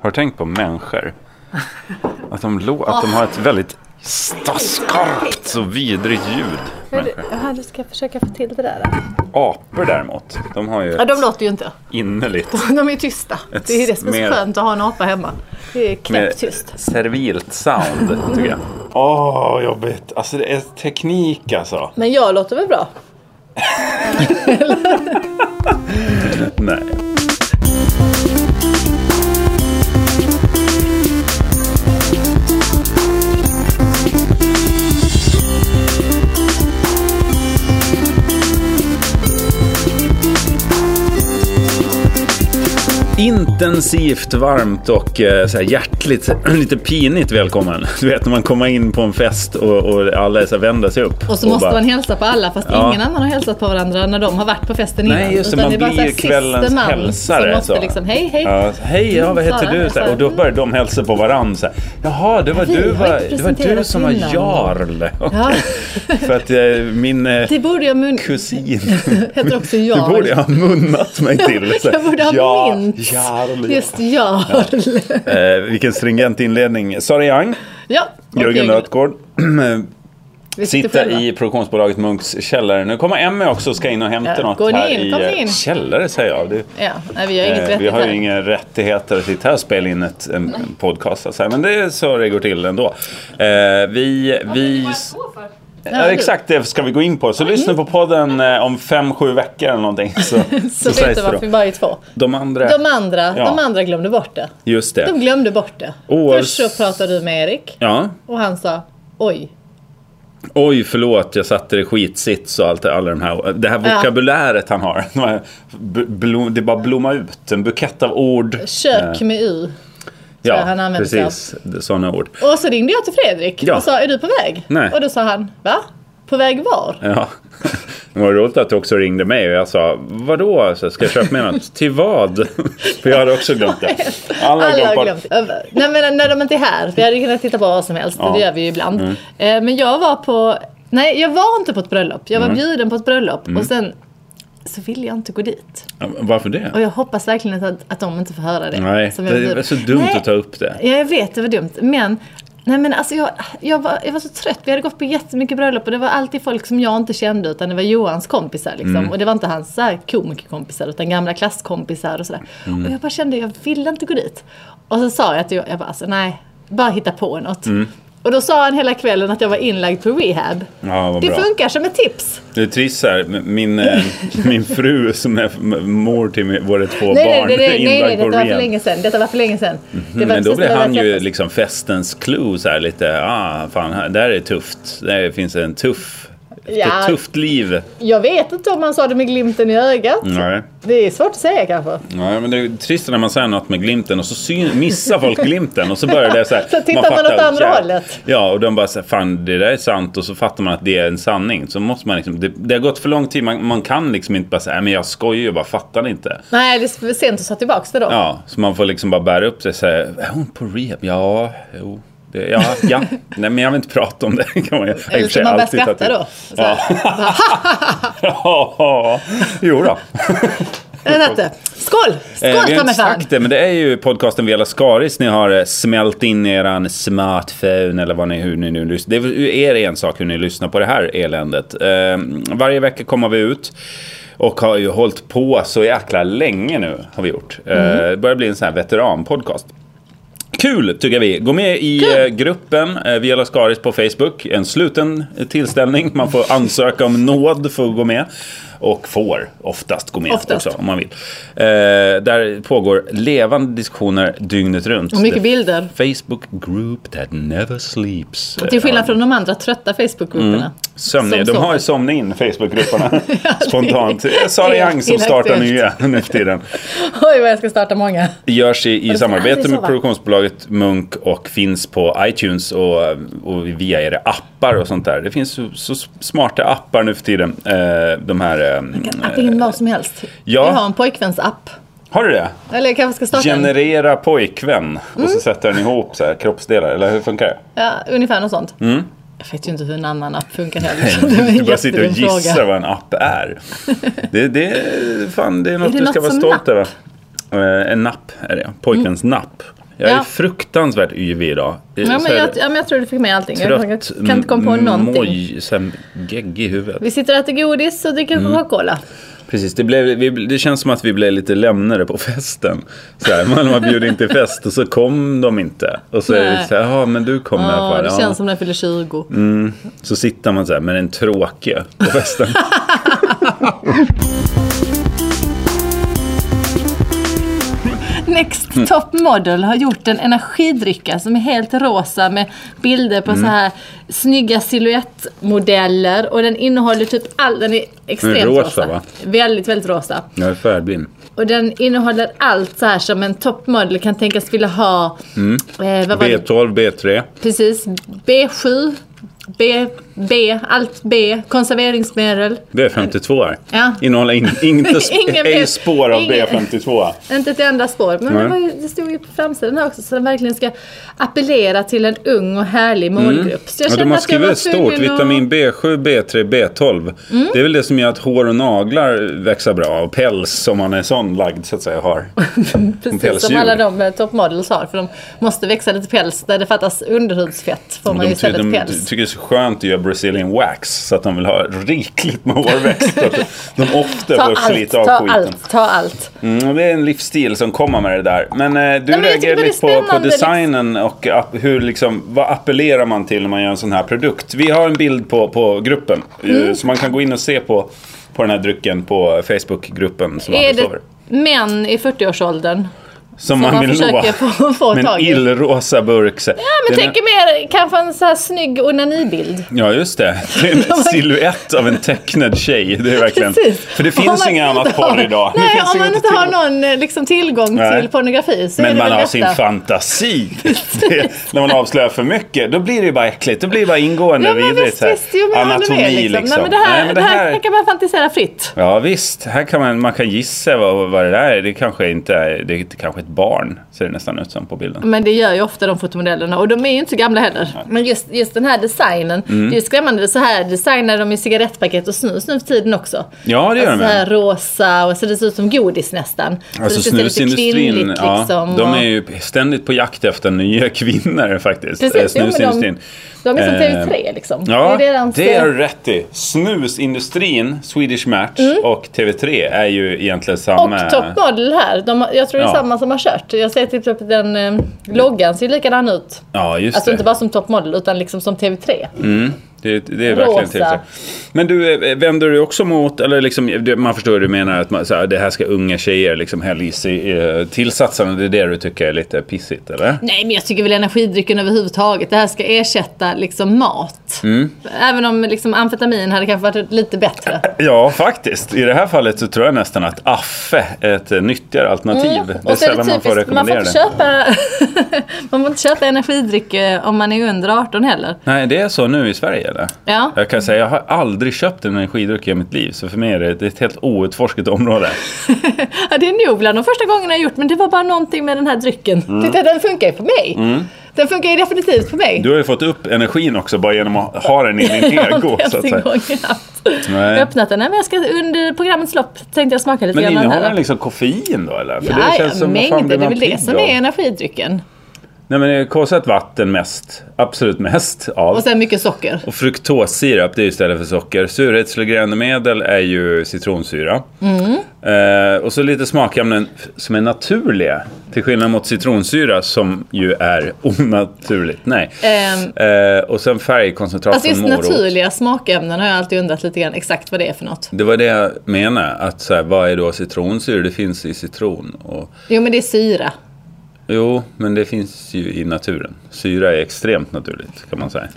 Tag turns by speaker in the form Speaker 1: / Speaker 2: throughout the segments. Speaker 1: Har du tänkt på människor? Att de, lå- att de har ett väldigt sta- skarpt och vidrigt ljud. Människor.
Speaker 2: Jaha, nu ska jag försöka få till det där.
Speaker 1: Apor däremot, de har ju
Speaker 2: Ja, de
Speaker 1: ett
Speaker 2: låter ju inte.
Speaker 1: innerligt,
Speaker 2: De är tysta. Det är ju det som är
Speaker 1: mer-
Speaker 2: så skönt att ha en apa hemma. Det är
Speaker 1: mer
Speaker 2: knäpptyst.
Speaker 1: servilt sound, tycker jag. Åh, vad jobbigt. Alltså det är teknik alltså.
Speaker 2: Men jag låter väl bra?
Speaker 1: Nej. Intensivt, varmt och eh, så här hjärtligt, lite pinigt välkommen. Du vet när man kommer in på en fest och, och alla är så här, vänder sig upp.
Speaker 2: Och så måste
Speaker 1: bara-
Speaker 2: man hälsa på alla fast
Speaker 1: Ja.
Speaker 2: ingen annan har hälsat på varandra när de har varit på festen
Speaker 1: Nej,
Speaker 2: innan.
Speaker 1: just det,
Speaker 2: Utan
Speaker 1: man
Speaker 2: är bara
Speaker 1: blir
Speaker 2: så här
Speaker 1: ju kvällens
Speaker 2: siste man
Speaker 1: hälsare,
Speaker 2: Som måste
Speaker 1: så.
Speaker 2: liksom, hej hej. Mm,
Speaker 1: Ja, hej, ja, vad heter
Speaker 2: Sara,
Speaker 1: du? Så här, och då börjar de hälsa på varandra. Så här, Jaha, det var,
Speaker 2: Vi har
Speaker 1: du,
Speaker 2: inte
Speaker 1: var, det var du
Speaker 2: presenterat
Speaker 1: som var
Speaker 2: innan.
Speaker 1: jarl.
Speaker 2: Ja,
Speaker 1: För att eh, min eh,
Speaker 2: det borde jag mun...
Speaker 1: kusin,
Speaker 2: Heter också
Speaker 1: det
Speaker 2: jag.
Speaker 1: borde jag ha munnat mig till. Så här,
Speaker 2: Jag borde ha
Speaker 1: ja,
Speaker 2: minst.
Speaker 1: Jarl. ja.
Speaker 2: Just jag. Ja.
Speaker 1: Eh, vilken stringent inledning. Sara Young,
Speaker 2: och
Speaker 1: Jörgen
Speaker 2: Jörgen.
Speaker 1: Rötgård.
Speaker 2: Vi sitter
Speaker 1: Sitta
Speaker 2: själva.
Speaker 1: i produktionsbolaget Munks källare. Nu kommer Emmy också och ska in och hämta
Speaker 2: Ja,
Speaker 1: något
Speaker 2: gå
Speaker 1: här
Speaker 2: in,
Speaker 1: i
Speaker 2: kom
Speaker 1: eh,
Speaker 2: in.
Speaker 1: källare säger jag. Det,
Speaker 2: Ja, nej, vi har inget
Speaker 1: Eh,
Speaker 2: vettigt
Speaker 1: vi har
Speaker 2: här.
Speaker 1: ju inga rättigheter att sitta här och spela in ett, en en podcast. Alltså. Men det är så det går till ändå. Eh, vi... vi ja,
Speaker 2: du.
Speaker 1: exakt det ska vi gå in på. Så lyssna på podden eh, om fem, sju veckor eller någonting. Så, så,
Speaker 2: Så vet
Speaker 1: sägs
Speaker 2: du
Speaker 1: det
Speaker 2: varför vi
Speaker 1: då.
Speaker 2: bara är två.
Speaker 1: De andra...
Speaker 2: De andra,
Speaker 1: Ja.
Speaker 2: de andra glömde bort det.
Speaker 1: Just
Speaker 2: De
Speaker 1: det.
Speaker 2: glömde bort det.
Speaker 1: Oavs-
Speaker 2: Först så pratade du med Erik
Speaker 1: Ja.
Speaker 2: och han sa oj.
Speaker 1: Oj, förlåt, jag satte det i skitsits och allt det, alla de här. Det här
Speaker 2: Ja.
Speaker 1: vokabuläret han har. De här, b- blom, det bara blommar ut. En bukett av ord.
Speaker 2: Kök med U.
Speaker 1: ja,
Speaker 2: han använder sig av.
Speaker 1: precis. Sådana ord.
Speaker 2: Och så ringde jag till Fredrik
Speaker 1: Ja.
Speaker 2: och sa är du på väg?
Speaker 1: Nej.
Speaker 2: Och då sa han va? På väg var?
Speaker 1: Ja. Det var roligt att du också ringde mig och jag sa vadå, så ska jag köpa med något? Till vad? För jag hade också glömt det. Alla, har
Speaker 2: Alla
Speaker 1: glömt
Speaker 2: har glömt. Över- Nej men när de inte är här, vi hade kunnat titta på vad som helst,
Speaker 1: Ja. Mm.
Speaker 2: det gör vi ju ibland. Eh, Men jag var på, nej jag var inte på ett bröllop, jag
Speaker 1: Mm.
Speaker 2: var bjuden på ett bröllop och sen så ville jag inte gå dit.
Speaker 1: Varför det?
Speaker 2: Och jag hoppas verkligen att, att de inte får höra det.
Speaker 1: Nej,
Speaker 2: Som jag
Speaker 1: det
Speaker 2: blir-
Speaker 1: var så dumt
Speaker 2: Nej,
Speaker 1: att ta upp det.
Speaker 2: Ja, jag vet, det var dumt. Men, nej men alltså jag, jag, var, jag var så trött. Vi hade gått på jättemycket bröllop och det var alltid folk som jag inte kände utan det var Johans kompisar liksom.
Speaker 1: Mm.
Speaker 2: Och det var inte hans så här komikerkompisar utan gamla klasskompisar och sådär.
Speaker 1: Mm.
Speaker 2: Och jag bara kände, jag ville inte gå dit. Och så sa jag till jag, jag bara, alltså nej, bara hitta på något.
Speaker 1: Mm.
Speaker 2: Och då sa han hela kvällen att jag var inlagd på rehab.
Speaker 1: Ja, Mm, vad
Speaker 2: det
Speaker 1: bra.
Speaker 2: funkar som ett tips.
Speaker 1: Det är trist så här, min, eh, min fru som är m- mor till mi- våra två
Speaker 2: Nej, nej,
Speaker 1: barn
Speaker 2: nej, nej, nej,
Speaker 1: inlagd
Speaker 2: nej,
Speaker 1: på
Speaker 2: detta var för
Speaker 1: rehab. Mm-hmm,
Speaker 2: länge sedan. Detta var för länge sedan. Det var
Speaker 1: Men då
Speaker 2: precis
Speaker 1: blir
Speaker 2: när vi
Speaker 1: han
Speaker 2: hade
Speaker 1: ju
Speaker 2: träffats.
Speaker 1: liksom festens clue så här lite, ah fan, här- där är tufft. Där finns en tuff,
Speaker 2: Ja.
Speaker 1: ett tufft liv.
Speaker 2: Jag vet inte om han sa det med glimten i ögat.
Speaker 1: Nej.
Speaker 2: Det är svårt att säga kanske.
Speaker 1: Nej, men det är trist när man säger något med glimten och så syn, missar folk glimten och så börjar det så här.
Speaker 2: Så tittar man
Speaker 1: fattar,
Speaker 2: åt andra
Speaker 1: ja.
Speaker 2: hållet.
Speaker 1: Ja, och de bara så här, fan det där är sant och så fattar man att det är en sanning. Så måste man liksom, det, det har gått för lång tid, man, man kan liksom inte bara säga, "Nej, men jag skojar ju bara, fattar ni inte?
Speaker 2: Nej, det är för sent att ta tillbaka det då.
Speaker 1: Ja, så man får liksom bara bära upp det så här, är hon på rehab? Ja, jo. Det, ja, ja. Nej, men jag vill inte prata om det. Kan man, ju- i och
Speaker 2: Eller
Speaker 1: för sig
Speaker 2: ska man börja
Speaker 1: alltid ta
Speaker 2: skratta
Speaker 1: till-
Speaker 2: då? Så här,
Speaker 1: Ja, jo då.
Speaker 2: "Vänta inte. Skål!
Speaker 1: Eh,
Speaker 2: Skål
Speaker 1: vi har
Speaker 2: ta mig
Speaker 1: inte
Speaker 2: fan!
Speaker 1: sagt det, men det är ju podcasten Vela Skaris ni har eh, smält in i eran smartphone eller vad ni, hur ni nu lyssnar. Det är väl er ensak hur ni lyssnar på det här eländet. Eh, varje vecka kommer vi ut och har ju hållit på så jäkla länge nu har vi gjort. Eh,
Speaker 2: Mm.
Speaker 1: Det börjar bli en sån här veteranpodcast. Kul tycker vi. Gå med i eh, gruppen eh, Viola Skaris på Facebook. En sluten eh, tillställning. Man får ansöka om nåd för att gå med. Och får oftast gå med
Speaker 2: Oftast.
Speaker 1: också om man vill. Eh, där pågår levande diskussioner dygnet runt.
Speaker 2: Och mycket
Speaker 1: The
Speaker 2: bilder.
Speaker 1: Facebook group that never sleeps.
Speaker 2: Till skillnad
Speaker 1: Eh,
Speaker 2: från de andra trötta Facebookgrupperna.
Speaker 1: Sömniga.
Speaker 2: som
Speaker 1: De har
Speaker 2: sover.
Speaker 1: ju somnat in Facebookgrupperna spontant. Det är Sara
Speaker 2: det är
Speaker 1: Young som startar
Speaker 2: inaktuellt.
Speaker 1: nya nu för tiden.
Speaker 2: Oj, vad jag ska starta många.
Speaker 1: görs i, i samarbete
Speaker 2: aldrig
Speaker 1: med
Speaker 2: sova.
Speaker 1: produktionsbolaget Munk och finns på iTunes och, och via era appar och sånt där. Det finns så, så smarta appar nu för tiden. Eh, de här... Eh,
Speaker 2: Att in vad som helst.
Speaker 1: ja.
Speaker 2: Jag har en pojkvänsapp.
Speaker 1: har du det?
Speaker 2: Eller jag kanske ska starta en.
Speaker 1: Generera pojkvän och så sätter den ihop så här, kroppsdelar, eller hur funkar det?
Speaker 2: Ja, ungefär något sånt. Jag vet ju inte hur en annan app funkar heller.
Speaker 1: Mm. Du bara sitter och
Speaker 2: jättedum fråga.
Speaker 1: gissar vad en app är. Det, det, fan, det är något
Speaker 2: det
Speaker 1: du ska
Speaker 2: något
Speaker 1: vara
Speaker 2: som
Speaker 1: stolt
Speaker 2: napp? Mm.
Speaker 1: över. Eh, En napp är det, pojkens napp. Jag är
Speaker 2: Ja.
Speaker 1: fruktansvärt yvig idag.
Speaker 2: Ja
Speaker 1: Så
Speaker 2: men,
Speaker 1: här
Speaker 2: jag, ja, men jag tror du fick med allting. Jag
Speaker 1: trött,
Speaker 2: kan kan inte komma på någonting.
Speaker 1: moj, sen gegg i huvudet.
Speaker 2: Vi sitter och äter godis och dricker
Speaker 1: Mm.
Speaker 2: Coca-Cola.
Speaker 1: Precis, det, blev, vi, det känns som att vi blev lite lämnare på festen. Så här, man, man bjöd in till fest och så kom de inte. Och så är det
Speaker 2: Nej.
Speaker 1: så här, "Jaha, men du kom i alla
Speaker 2: Ja,
Speaker 1: fall.
Speaker 2: det
Speaker 1: Ja.
Speaker 2: känns som när jag fyller 20.
Speaker 1: Så sitter man så här med den tråkiga på festen.
Speaker 2: Next Top Model har gjort en energidrycka som är helt rosa med bilder på så här snygga silhuettmodeller. Och den innehåller typ all... Den är extremt
Speaker 1: Den är rosa,
Speaker 2: rosa.
Speaker 1: va?
Speaker 2: Väldigt, väldigt rosa.
Speaker 1: Jag är färgblind.
Speaker 2: Och den innehåller allt så här som en toppmodell kan tänkas vilja ha.
Speaker 1: Mm.
Speaker 2: Eh, vad var det?
Speaker 1: B12, B3.
Speaker 2: Precis. B7, B, B, allt B, konserveringsmedel.
Speaker 1: B52 är.
Speaker 2: Ja.
Speaker 1: Innehåller in, inte
Speaker 2: Ingen
Speaker 1: sp- ej
Speaker 2: B-
Speaker 1: spår av
Speaker 2: ingen-
Speaker 1: B52.
Speaker 2: Inte ett enda spår. Men
Speaker 1: Nej.
Speaker 2: det, var ju, det stod ju på framsidan här också så den verkligen ska appellera till en ung och härlig målgrupp. Så
Speaker 1: Mm. Ja, de har skrivit stort.
Speaker 2: tvungen att- Mm.
Speaker 1: Vitamin B7, B3, B12. Det är väl det som gör att hår och naglar växer bra. Och päls om man är sån lagd så att säga har.
Speaker 2: Precis som
Speaker 1: pälsdjur.
Speaker 2: alla de eh, toppmodels har. För de måste växa lite päls. Där det fattas underhudsfett får man
Speaker 1: De,
Speaker 2: ju
Speaker 1: ty- de
Speaker 2: istället päls.
Speaker 1: tycker det är så skönt att göra Brazilian wax så att de vill ha rikligt med hårväxt. Så att de ofta
Speaker 2: Ta
Speaker 1: får
Speaker 2: allt,
Speaker 1: slita av
Speaker 2: ta
Speaker 1: skiten.
Speaker 2: allt, ta allt.
Speaker 1: Mm, och det är en livsstil som kommer med det där. Men eh, du
Speaker 2: jag tycker
Speaker 1: reagerar
Speaker 2: det är
Speaker 1: lite på, på
Speaker 2: spännande, liksom.
Speaker 1: designen och app, hur, liksom, vad appellerar man till när man gör en sån här produkt. Vi har en bild på, på gruppen
Speaker 2: Mm.
Speaker 1: eh, så man kan gå in och se på, på den här drycken på Facebookgruppen som
Speaker 2: Är
Speaker 1: Anders
Speaker 2: det
Speaker 1: Lover.
Speaker 2: män i 40-årsåldern?
Speaker 1: Som man,
Speaker 2: man
Speaker 1: vill nå.
Speaker 2: försöker få- få
Speaker 1: Med en
Speaker 2: tag i.
Speaker 1: illrosa burk. så-
Speaker 2: Ja, men
Speaker 1: Den är-
Speaker 2: tänk er mer kanske en så här snygg onanibild.
Speaker 1: Ja, just det. Det är en silhuett av en tecknad tjej. Det är verkligen...
Speaker 2: Precis.
Speaker 1: För det
Speaker 2: Om
Speaker 1: finns
Speaker 2: man
Speaker 1: inga
Speaker 2: inte
Speaker 1: annat
Speaker 2: har-
Speaker 1: porr idag. det
Speaker 2: Nej,
Speaker 1: finns
Speaker 2: om man
Speaker 1: inget
Speaker 2: inte
Speaker 1: till-
Speaker 2: har någon eh, liksom, tillgång
Speaker 1: Nej.
Speaker 2: till pornografi så är
Speaker 1: Men
Speaker 2: det
Speaker 1: man
Speaker 2: väl
Speaker 1: har sin
Speaker 2: detta.
Speaker 1: fantasi. Det, när man avslöjar för mycket, då blir det ju bara äckligt. Då blir det bara ingående
Speaker 2: Ja men
Speaker 1: vidrigt.
Speaker 2: visst,
Speaker 1: så här.
Speaker 2: visst. Jo, men jag håller
Speaker 1: Anatomi
Speaker 2: med,
Speaker 1: liksom.
Speaker 2: liksom. Nej, men det här,
Speaker 1: Nej, men det här-
Speaker 2: här kan man fantisera fritt.
Speaker 1: Ja visst, här kan man, man kan gissa vad, vad det där är. Det kanske inte är, det är kanske ett barn, ser det nästan ut som på bilden.
Speaker 2: Men det gör ju ofta de fotomodellerna och de är ju inte så gamla heller. Men just, just den här designen,
Speaker 1: Mm.
Speaker 2: det är ju skrämmande. Så här designar de ju cigarettpaket och snus nu för tiden också.
Speaker 1: Ja, det gör
Speaker 2: alltså,
Speaker 1: de.
Speaker 2: Så här rosa och så det ser ut som godis nästan. Så
Speaker 1: Alltså
Speaker 2: det ska se lite
Speaker 1: snusindustrin,
Speaker 2: kvinnligt,
Speaker 1: ja,
Speaker 2: liksom,
Speaker 1: de
Speaker 2: och-
Speaker 1: är ju eh, ständigt på jakt efter nya kvinnor faktiskt. Eh,
Speaker 2: Precis, jo, men
Speaker 1: Snusindustrin.
Speaker 2: De, de är som
Speaker 1: Eh,
Speaker 2: TV3 liksom.
Speaker 1: Ja,
Speaker 2: det är deras, eh,
Speaker 1: det har du rätt i. Snusindustrin, Swedish Match och TV3 är ju egentligen
Speaker 2: Mm. och
Speaker 1: samma.
Speaker 2: toppmodel här. De, har- jag tror det är
Speaker 1: Ja.
Speaker 2: samma som har kört. Jag ser typ att den eh, loggan ser ju likadan ut.
Speaker 1: Ja, just
Speaker 2: Alltså
Speaker 1: det. Mm.
Speaker 2: inte bara som toppmodel utan liksom som TV3.
Speaker 1: Det, det är
Speaker 2: Rosa.
Speaker 1: verkligen TV3. Men du, eh, vänder du också mot, eller liksom, du- man förstår hur du menar att man, så här, det här ska unga tjejer liksom hälla i sig eh, tillsatserna. Det är det du tycker är lite pissigt, eller?
Speaker 2: Nej men jag tycker väl energidrycken överhuvudtaget. Det här ska ersätta liksom mat.
Speaker 1: Mm.
Speaker 2: Även om liksom amfetamin hade kanske varit lite bättre.
Speaker 1: Ja, faktiskt. I det här fallet så tror jag nästan att affe är ett eh, nyttigare alternativ. Det är
Speaker 2: Mm. Och så är
Speaker 1: sällan
Speaker 2: det
Speaker 1: man får
Speaker 2: typiskt, man får
Speaker 1: rekommendera
Speaker 2: inte
Speaker 1: det.
Speaker 2: köpa, man får inte köpa energidryck eh, om man är under 18 heller.
Speaker 1: Nej, det är så nu i Sverige eller?
Speaker 2: Ja.
Speaker 1: Jag kan säga, jag har aldrig köpt en energidryck i mitt liv. Så för mig är det, det är ett helt outforskat område.
Speaker 2: Ja, det är nog bland de första gångerna jag gjort men det var bara någonting med den här drycken.
Speaker 1: Mm.
Speaker 2: Titta, den funkar ju på mig. Den funkar ju definitivt på mig.
Speaker 1: Du har ju fått upp energin också bara genom att ha den i din ego.
Speaker 2: Jag
Speaker 1: så
Speaker 2: har
Speaker 1: att
Speaker 2: inte ens en
Speaker 1: säga.
Speaker 2: gång haft. Jag
Speaker 1: Nej.
Speaker 2: har öppnat den. Nej, men jag ska, under programmets lopp tänkte jag smaka lite
Speaker 1: Men
Speaker 2: grann av
Speaker 1: innehåller
Speaker 2: den
Speaker 1: den
Speaker 2: här.
Speaker 1: liksom koffein då eller? För
Speaker 2: Ja, ja,
Speaker 1: vad fan
Speaker 2: mängder.
Speaker 1: blir
Speaker 2: Det är
Speaker 1: man
Speaker 2: väl det
Speaker 1: pigg
Speaker 2: som
Speaker 1: av?
Speaker 2: är energidrycken.
Speaker 1: Nej men det är kolsyrat vatten mest. Absolut mest av.
Speaker 2: Och sen mycket socker.
Speaker 1: Och fruktossirap, det är ju istället för socker. Surhetsreglerande är ju citronsyra.
Speaker 2: Mm.
Speaker 1: Eh, och så lite smakämnen f- som är naturliga. Till skillnad mot citronsyra som ju är onaturligt. Nej.
Speaker 2: Ehm.
Speaker 1: Eh, och sen färgkoncentrat
Speaker 2: Alltså
Speaker 1: från
Speaker 2: just
Speaker 1: morot.
Speaker 2: naturliga smakämnen har jag alltid undrat lite grann exakt vad det är för något.
Speaker 1: Det var det jag menade. Att så här, vad är då citronsyra? Det finns i citron. Och,
Speaker 2: Jo men det är syra.
Speaker 1: jo, men det finns ju i naturen. Syra är extremt naturligt kan man säga.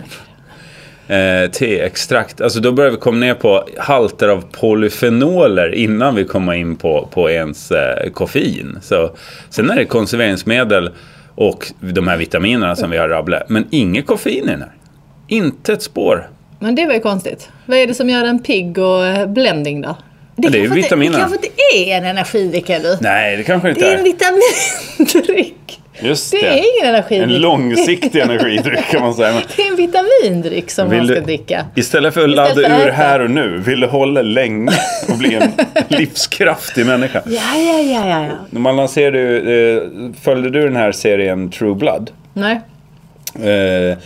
Speaker 1: Eh, teextrakt, alltså då börjar vi komma ner på halter av polyfenoler innan vi kommer in på, på ens eh, koffein. Så, sen är det konserveringsmedel och de här vitaminerna som vi har rabblat. Men inget koffein i den här. Inte ett spår.
Speaker 2: Men det var ju konstigt. Vad är det som gör en pigg och eh, blending då?
Speaker 1: Ja, det är ju
Speaker 2: kanske inte-
Speaker 1: vitaminerna.
Speaker 2: Det kanske inte är en energidryck heller.
Speaker 1: Nej, det kanske inte
Speaker 2: Det är
Speaker 1: är.
Speaker 2: en vitamindryck.
Speaker 1: Just
Speaker 2: Det är ingen energidryck.
Speaker 1: En långsiktig energidryck kan man säga. Men
Speaker 2: Det är en vitamindryck som
Speaker 1: vill
Speaker 2: man ska
Speaker 1: du-
Speaker 2: dricka.
Speaker 1: Istället för att ladda
Speaker 2: för att
Speaker 1: ur
Speaker 2: äta.
Speaker 1: här och nu, vill du hålla länge och bli en livskraftig människa?
Speaker 2: Ja, ja, ja, ja, ja.
Speaker 1: När man lanserade, ju, eh, följde du den här serien True Blood?
Speaker 2: Nej.
Speaker 1: Eh,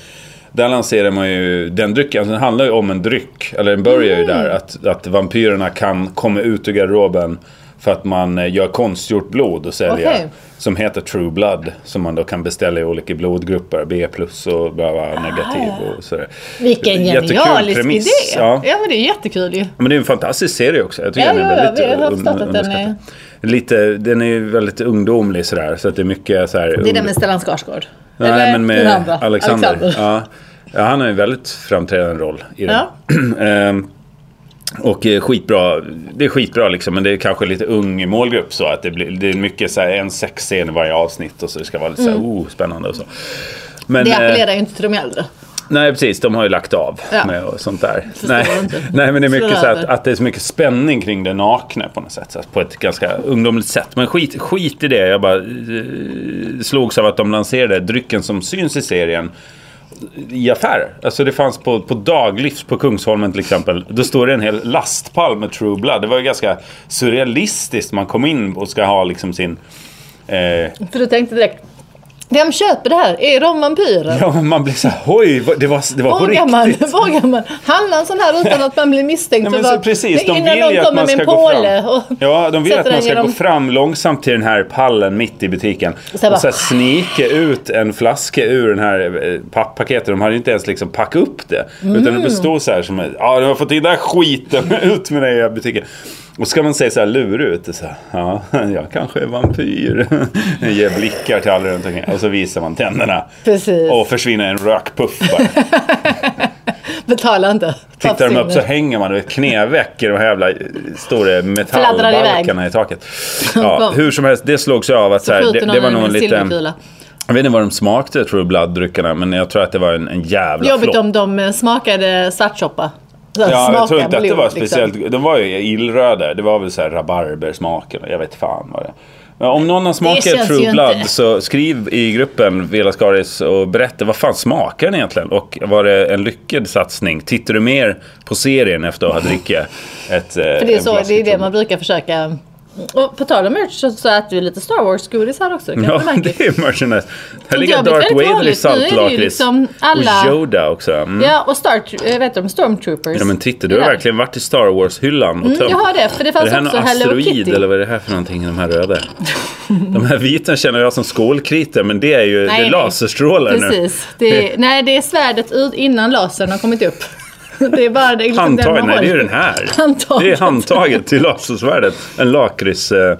Speaker 1: där lanserar man ju den drycken. Alltså, den handlar ju om en dryck. Eller den börjar
Speaker 2: Mm.
Speaker 1: ju där. Att, att vampyrerna kan komma ut ur garderoben för att man eh, gör konstgjort blod och säljer.
Speaker 2: Okej.
Speaker 1: Som heter True Blood. Som man då kan beställa i olika blodgrupper. B plus och bla bla, negativ och sådär.
Speaker 2: Ah, Vilken
Speaker 1: Jättekul
Speaker 2: genialisk
Speaker 1: premiss,
Speaker 2: idé.
Speaker 1: Ja.
Speaker 2: Ja. men det är jättekul ju.
Speaker 1: Men det är en fantastisk serie också. Jag tycker
Speaker 2: Ja,
Speaker 1: den är
Speaker 2: ja, ja,
Speaker 1: väldigt
Speaker 2: vi har
Speaker 1: un-
Speaker 2: förstått att den är-
Speaker 1: underskattad. Lite, den är ju väldigt ungdomlig sådär. Så att det är mycket såhär...
Speaker 2: Det är den med Stellan Skarsgård.
Speaker 1: Nej,
Speaker 2: Eller
Speaker 1: men med
Speaker 2: den andra,
Speaker 1: Alexander. Ja. Ja, han har ju en väldigt framträdande roll i den. Ehm, och eh, skitbra, det är skitbra liksom, men det är kanske lite ung målgrupp så att det, blir, det är mycket så här, en sexscen i varje avsnitt och så det ska vara lite så här, oh, spännande och så. Men,
Speaker 2: Mm. Det
Speaker 1: eh,
Speaker 2: appellerar ju inte till de äldre.
Speaker 1: Nej precis, de har ju lagt av
Speaker 2: Ja.
Speaker 1: med och sånt där.
Speaker 2: Förstår
Speaker 1: Nej.
Speaker 2: inte.
Speaker 1: nej men det är mycket
Speaker 2: Slår
Speaker 1: så att,
Speaker 2: över.
Speaker 1: att det är så mycket spänning kring det nakna på något sätt. Så att på ett ganska ungdomligt sätt. Men skit, skit i det. Jag bara eh, slogs av att de lanserade drycken som syns i serien i affärer. Alltså det fanns på, på Daglivs på Kungsholmen till exempel. Då står det en hel lastpall med True Blood. Det var ju ganska surrealistiskt. Man kom in och ska ha liksom sin... Eh,
Speaker 2: För du tänkte direkt, vem köper det här? Är de vampyrer?
Speaker 1: ja, man blir så här, oj, vad- det var, det var på
Speaker 2: Vågar
Speaker 1: riktigt.
Speaker 2: man, vågar man handla en sån här utan att man blir misstänkt?
Speaker 1: Nej, men
Speaker 2: för
Speaker 1: så,
Speaker 2: vad-
Speaker 1: precis, de
Speaker 2: innan
Speaker 1: vill
Speaker 2: någon
Speaker 1: ju att
Speaker 2: kommer
Speaker 1: man
Speaker 2: med
Speaker 1: ska
Speaker 2: en
Speaker 1: gå
Speaker 2: påle
Speaker 1: fram.
Speaker 2: och
Speaker 1: Ja, de vill
Speaker 2: sätter
Speaker 1: att man
Speaker 2: den
Speaker 1: ska
Speaker 2: genom-
Speaker 1: gå fram långsamt till den här pallen mitt i butiken.
Speaker 2: Så här
Speaker 1: och så
Speaker 2: bara-
Speaker 1: här snika ut en flaska ur den här eh, pappaketet. De hade ju inte ens liksom packat upp det. Utan
Speaker 2: Mm.
Speaker 1: det bestod så här som, ja du har fått in den här skiten, ut med dig i butiken. Och så kan man säga så här lurig ut. och Så här, ja, jag kanske är vampyr. Ger blickar till alla runt omkring. Och så visar man tänderna.
Speaker 2: Precis.
Speaker 1: Och försvinner i en rökpuff bara.
Speaker 2: Betala inte. Ta
Speaker 1: Tittar de upp så
Speaker 2: försvinner.
Speaker 1: hänger man vet, knäveck i de här jävla eh, stora metallbalkarna i taket. Ja, hur som helst, det slogs jag av att så här,
Speaker 2: Skjuter
Speaker 1: det,
Speaker 2: någon
Speaker 1: det var
Speaker 2: med
Speaker 1: nog en
Speaker 2: en
Speaker 1: liten...
Speaker 2: silverkula.
Speaker 1: Jag vet inte vad de smakte, tror jag, bladdryckerna, men jag tror att det var en, en jävla
Speaker 2: Jobbigt
Speaker 1: flopp.
Speaker 2: om de eh, smakade svartsoppa. Så här,
Speaker 1: Ja, jag tror
Speaker 2: smaka
Speaker 1: inte att det
Speaker 2: blod,
Speaker 1: var
Speaker 2: liksom.
Speaker 1: speciellt. De var ju illröda. Det var väl så här rabarbersmaken. Jag vet fan vad det Men Om någon har smakat
Speaker 2: känns ju
Speaker 1: True
Speaker 2: inte.
Speaker 1: Blood så skriv i gruppen Vela Skaris och berätta vad fan smakar den egentligen? Och var det en lyckad satsning? Tittar du mer på serien efter att ha druckit ett eh,
Speaker 2: För det är, så, det är det man brukar försöka... Och på tal om merch så, så äter vi lite Star Wars-godis här också. Kan
Speaker 1: Ja,
Speaker 2: du märka?
Speaker 1: det är merchandise. Här
Speaker 2: Det
Speaker 1: ligger
Speaker 2: har blivit
Speaker 1: Darth
Speaker 2: väldigt
Speaker 1: Vader i
Speaker 2: vanligt. Nu är det ju
Speaker 1: saltlakrits.
Speaker 2: liksom alla-
Speaker 1: Och Yoda också. Mm.
Speaker 2: Ja, och Star, eh, vet du, Stormtroopers.
Speaker 1: Ja men titta, du har
Speaker 2: Ja. Mm,
Speaker 1: verkligen varit i Star Wars-hyllan och tömt.
Speaker 2: jag har det, för det fanns
Speaker 1: är det här
Speaker 2: också
Speaker 1: någon
Speaker 2: Hello
Speaker 1: asteroid
Speaker 2: Kitty.
Speaker 1: eller vad är det här för någonting, de här röda? De här vita känner jag som skålkriter, men det är ju
Speaker 2: Nej,
Speaker 1: det är
Speaker 2: nej.
Speaker 1: laserstrålar nu.
Speaker 2: Precis. Det är, nej, det är svärdet ut innan lasern har kommit upp. Det är bara det, är liksom den
Speaker 1: Handtaget,
Speaker 2: man
Speaker 1: nej det är ju
Speaker 2: håller.
Speaker 1: den här.
Speaker 2: Handtaget.
Speaker 1: Det är handtaget till lasersvärdet. En lakrits... Eh,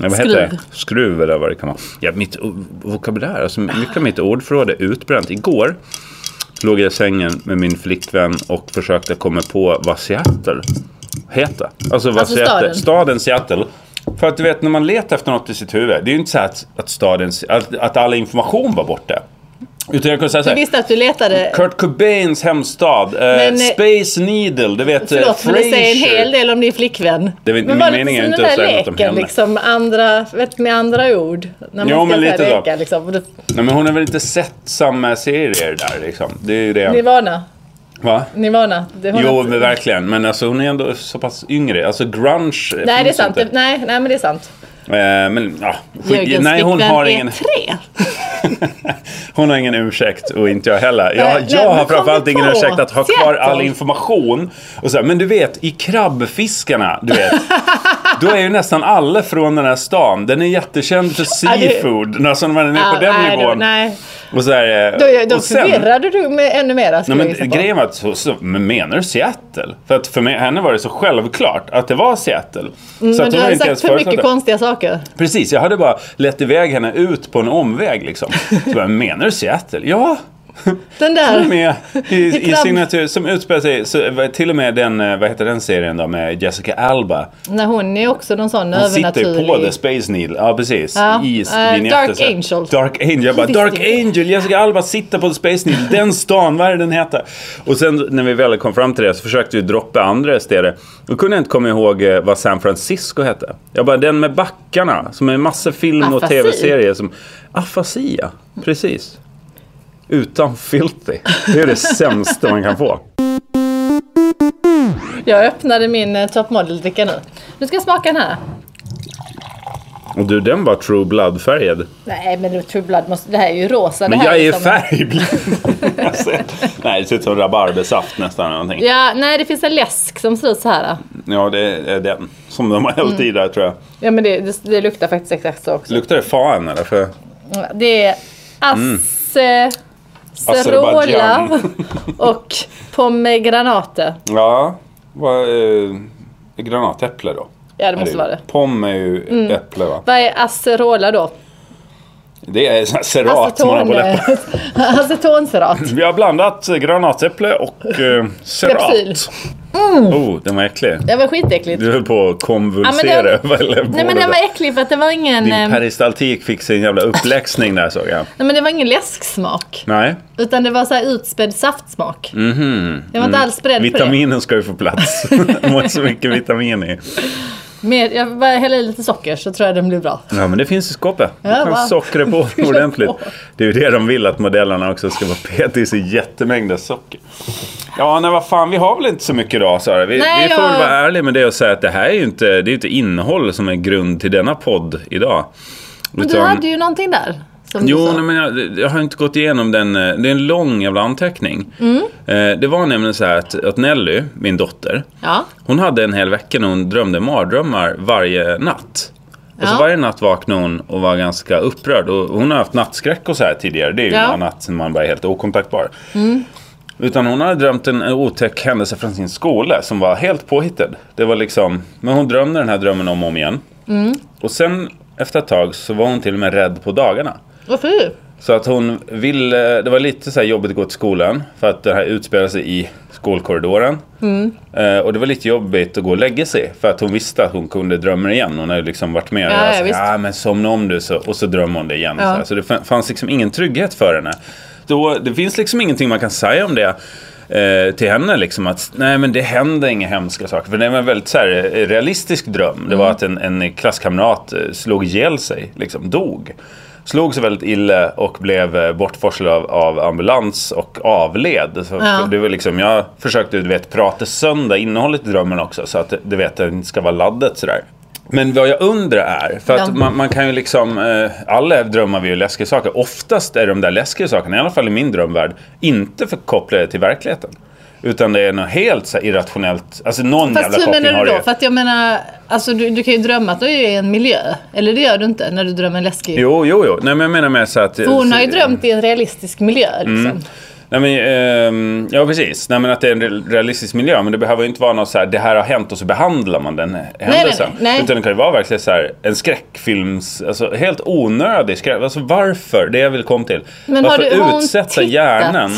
Speaker 1: vad heter
Speaker 2: Skruv.
Speaker 1: det? Skruv eller vad det kan vara. Ja, mitt o- vokabulär, alltså mycket av mitt ordförråd är utbränt. Igår låg jag i sängen med min flickvän och försökte komma på vad Seattle heter. Alltså, vad
Speaker 2: Alltså
Speaker 1: Seattle,
Speaker 2: staden.
Speaker 1: staden Seattle. För att du vet när man letar efter något i sitt huvud, det är ju inte så att, att, staden, att, att all information var borta. Utan jag kunde säga så
Speaker 2: Du
Speaker 1: här,
Speaker 2: visste att du letade...
Speaker 1: Kurt Cobains hemstad, eh,
Speaker 2: Men, eh,
Speaker 1: Space Needle, du vet eh,
Speaker 2: Förlåt, men det säger en hel del om din flickvän.
Speaker 1: Det är väl- min
Speaker 2: var lite
Speaker 1: mening är
Speaker 2: som
Speaker 1: ju
Speaker 2: den
Speaker 1: inte att
Speaker 2: där
Speaker 1: säga något om
Speaker 2: leken,
Speaker 1: henne.
Speaker 2: liksom, andra, vet, med andra ord. När man
Speaker 1: Jo,
Speaker 2: ska
Speaker 1: men
Speaker 2: så här
Speaker 1: lite så.
Speaker 2: leka, liksom. Och du-
Speaker 1: Nej men hon har väl inte sett samma serier där liksom. Det är ju det.
Speaker 2: Nirvana.
Speaker 1: Va?
Speaker 2: Nirvana. Det har
Speaker 1: Jo
Speaker 2: något-
Speaker 1: men verkligen, men alltså hon är ändå så pass yngre. Alltså grunge eh,
Speaker 2: Nej, det är
Speaker 1: finns
Speaker 2: sant.
Speaker 1: Inte.
Speaker 2: Det, nej, nej, men det är sant.
Speaker 1: Eh, men ja, skit,
Speaker 2: Jörgens
Speaker 1: nej hon
Speaker 2: flickvän
Speaker 1: har,
Speaker 2: är
Speaker 1: ingen,
Speaker 2: tre.
Speaker 1: hon har ingen ursäkt och inte jag heller. Jag,
Speaker 2: Nej,
Speaker 1: jag
Speaker 2: men
Speaker 1: har
Speaker 2: kom
Speaker 1: framförallt
Speaker 2: vi
Speaker 1: ingen
Speaker 2: på
Speaker 1: ursäkt att ha kvar
Speaker 2: Seattle.
Speaker 1: all information. Och så här, men du vet, i krabbfiskarna, du vet. Då är ju nästan alla från den här stan. Den är jättekänd för
Speaker 2: det-
Speaker 1: seafood. Alltså när man är nere på den
Speaker 2: nej,
Speaker 1: nivån.
Speaker 2: Då, nej.
Speaker 1: Och så här, eh,
Speaker 2: Då, då
Speaker 1: och sen-
Speaker 2: förvirrade du med ännu mera
Speaker 1: Nej,
Speaker 2: skulle jag gissa
Speaker 1: men
Speaker 2: på.
Speaker 1: grejen var att, så, så, men menar du Seattle? För att för mig, henne var det så självklart att det var Seattle. så
Speaker 2: Mm, Men
Speaker 1: att
Speaker 2: du
Speaker 1: hon
Speaker 2: har
Speaker 1: inte
Speaker 2: sagt
Speaker 1: ens
Speaker 2: för
Speaker 1: förutsatt
Speaker 2: mycket
Speaker 1: det.
Speaker 2: konstiga saker.
Speaker 1: Precis, jag hade bara lett iväg henne ut på en omväg liksom. Så bara, menar du Seattle? Ja.
Speaker 2: Den
Speaker 1: Som är
Speaker 2: där.
Speaker 1: med i, i
Speaker 2: Ibland-
Speaker 1: signatur, som utspelar sig, så, till och med den, eh, vad heter den serien då med Jessica Alba.
Speaker 2: När hon är också någon sån
Speaker 1: Hon sitter ju
Speaker 2: övernaturlig.
Speaker 1: på The Space Needle, ja precis.
Speaker 2: Ja,
Speaker 1: I
Speaker 2: eh,
Speaker 1: vignetter,
Speaker 2: Dark
Speaker 1: så här.
Speaker 2: Angel.
Speaker 1: Dark Angel, jag bara
Speaker 2: Visst
Speaker 1: Dark
Speaker 2: är det.
Speaker 1: Angel, Jessica Alba sitter på The Space Needle, den stan, vad är det den heter? Och sen när vi väl kom fram till det så försökte vi droppa andra städer. Då kunde jag inte komma ihåg eh, vad San Francisco hette. Jag bara, den med backarna, som är massor film och
Speaker 2: Afasi.
Speaker 1: tv-serier som... Afasia, precis. Utan filthy. Det är det sämsta man kan få.
Speaker 2: Jag öppnade min eh, Top Model-dricka nu. Nu ska jag smaka den här.
Speaker 1: Och du, den var true blood-färgad.
Speaker 2: Nej, men det- True Blood måste... Det här är ju rosa.
Speaker 1: Men
Speaker 2: det här liksom.
Speaker 1: jag är
Speaker 2: som-
Speaker 1: färgblind. Alltså, Nej, det ser ut som rabarbersaft nästan. eller Någonting.
Speaker 2: Ja, nej det finns en läsk som ser ut så här.
Speaker 1: Ja, det är den som de har
Speaker 2: Mm.
Speaker 1: hällt i där tror jag.
Speaker 2: Ja, men det, det, det luktar faktiskt exakt så också.
Speaker 1: Luktar det fan eller? För
Speaker 2: Det är
Speaker 1: Mm.
Speaker 2: Acerola
Speaker 1: Azerbaijan.
Speaker 2: och pomegranate.
Speaker 1: Ja, vad, eh, granatäpple då?
Speaker 2: Ja, det
Speaker 1: Är
Speaker 2: måste vara det. Mm.
Speaker 1: Pom är ju äpple va?
Speaker 2: Vad är acerola då?
Speaker 1: Det är sån här
Speaker 2: Alltså,
Speaker 1: serat man har på läpparna.
Speaker 2: Acetonserat.
Speaker 1: Vi har blandat eh, granatäpple och eh, serat.
Speaker 2: Kapsyl.
Speaker 1: Oh, den var äcklig.
Speaker 2: Det var skitäckligt.
Speaker 1: Du höll på att
Speaker 2: Mm. Ja, men
Speaker 1: konvulsera.
Speaker 2: den-
Speaker 1: eller
Speaker 2: Nej men
Speaker 1: båda.
Speaker 2: den var äcklig för att det var ingen, eh,
Speaker 1: Din peristaltik fick sin jävla uppläxning där såg jag.
Speaker 2: nej, men det var ingen läsksmak.
Speaker 1: Nej.
Speaker 2: Utan det var så här utspädd saftsmak.
Speaker 1: Mhm.
Speaker 2: Jag var
Speaker 1: Mm.
Speaker 2: inte alls beredd på det.
Speaker 1: Vitaminen ska ju få plats. De har så mycket vitamin i.
Speaker 2: Mer, jag bara häller i lite socker så tror jag den blir bra.
Speaker 1: Ja men det finns i skåpet. Du
Speaker 2: Ja,
Speaker 1: kan
Speaker 2: va?
Speaker 1: sockra på
Speaker 2: Fylla
Speaker 1: ordentligt.
Speaker 2: på.
Speaker 1: Det är ju det de vill att modellerna också ska vara petis i jättemängder socker. Ja nej vad fan vi har väl inte så mycket idag Sara. Vi,
Speaker 2: Nej,
Speaker 1: vi får
Speaker 2: jag-
Speaker 1: väl vara ärliga med det och säga att det här är ju inte, det är ju inte innehåll som är grund till denna podd idag.
Speaker 2: Men du
Speaker 1: Utan-
Speaker 2: hade ju någonting där. Som du
Speaker 1: Jo,
Speaker 2: sa.
Speaker 1: nej, men jag, jag har inte gått igenom den. eh, Det är en lång jävla anteckning.
Speaker 2: Mm.
Speaker 1: Eh, det var nämligen så här att, att Nelly, min dotter,
Speaker 2: Ja.
Speaker 1: Hon hade en hel vecka när hon drömde mardrömmar varje natt. Och så
Speaker 2: Ja.
Speaker 1: varje natt vaknade hon och var ganska upprörd. Och hon har haft nattskräck och så här tidigare. Det är ju
Speaker 2: Ja. Mm.
Speaker 1: ja. natt när man bara är helt okontaktbar. Utan hon hade drömt en en otäck händelse från sin skola som var helt påhittad. Det var liksom, men hon drömde den här drömmen om och om igen.
Speaker 2: Mm.
Speaker 1: Och sen efter ett tag så var hon till och med rädd på dagarna.
Speaker 2: Varför?
Speaker 1: Så att hon ville, det var lite så här jobbigt att gå till skolan för att det här utspelade sig i skolkorridoren.
Speaker 2: Mm.
Speaker 1: Eh, och det var lite jobbigt att gå och lägga sig för att hon visste att hon kunde drömma igen. Hon hade liksom varit med och
Speaker 2: Ja,
Speaker 1: jag
Speaker 2: ja,
Speaker 1: sa,
Speaker 2: visst.
Speaker 1: ja men somna om du så, och så drömmer hon det igen. Så,
Speaker 2: Ja.
Speaker 1: här. så det fa- fanns liksom ingen trygghet för henne. Då, det finns liksom ingenting man kan säga om det. eh, Till henne liksom att nej men det hände inga hemska saker. För det var en väldigt så här, eh, realistisk dröm. Det
Speaker 2: Mm.
Speaker 1: var att en, en klasskamrat eh, slog ihjäl sig, liksom dog slog sig väldigt illa och blev eh, bortforslad av, av ambulans och avled. Så
Speaker 2: Ja.
Speaker 1: det var liksom, jag försökte du vet, prata sönder innehållet i drömmen också så att du vet, det inte ska vara laddat sådär. Men vad jag undrar är, för att
Speaker 2: Ja.
Speaker 1: man, man kan ju liksom, eh, alla drömmar vi ju läskiga saker. Oftast är de där läskiga sakerna, i alla fall i min drömvärld, inte förkopplade till verkligheten. Utan det är något helt så här irrationellt, alltså någon
Speaker 2: Fast
Speaker 1: jävla
Speaker 2: hur
Speaker 1: koppling
Speaker 2: menar
Speaker 1: har
Speaker 2: du
Speaker 1: det
Speaker 2: då?
Speaker 1: ju.
Speaker 2: För att jag menar, alltså du, du kan ju drömma att du är i en miljö. Eller det gör du inte när du drömmer en läskig.
Speaker 1: Jo, jo, jo. Nej, men jag menar med så att... eh,
Speaker 2: För hon har ju drömt i en realistisk miljö
Speaker 1: Mm.
Speaker 2: liksom.
Speaker 1: Nej, men, ehm, ja precis, Nej, men att det är en re- realistisk miljö. Men det behöver ju inte vara något så här, det här har hänt och så behandlar man den händelsen.
Speaker 2: nej, nej.
Speaker 1: Utan det kan ju vara verkligen så här, en skräckfilms, alltså helt onödig skräck. Alltså varför? Det jag vill komma till.
Speaker 2: Men har
Speaker 1: varför
Speaker 2: du- har hon
Speaker 1: utsätta
Speaker 2: tittat?
Speaker 1: hjärnan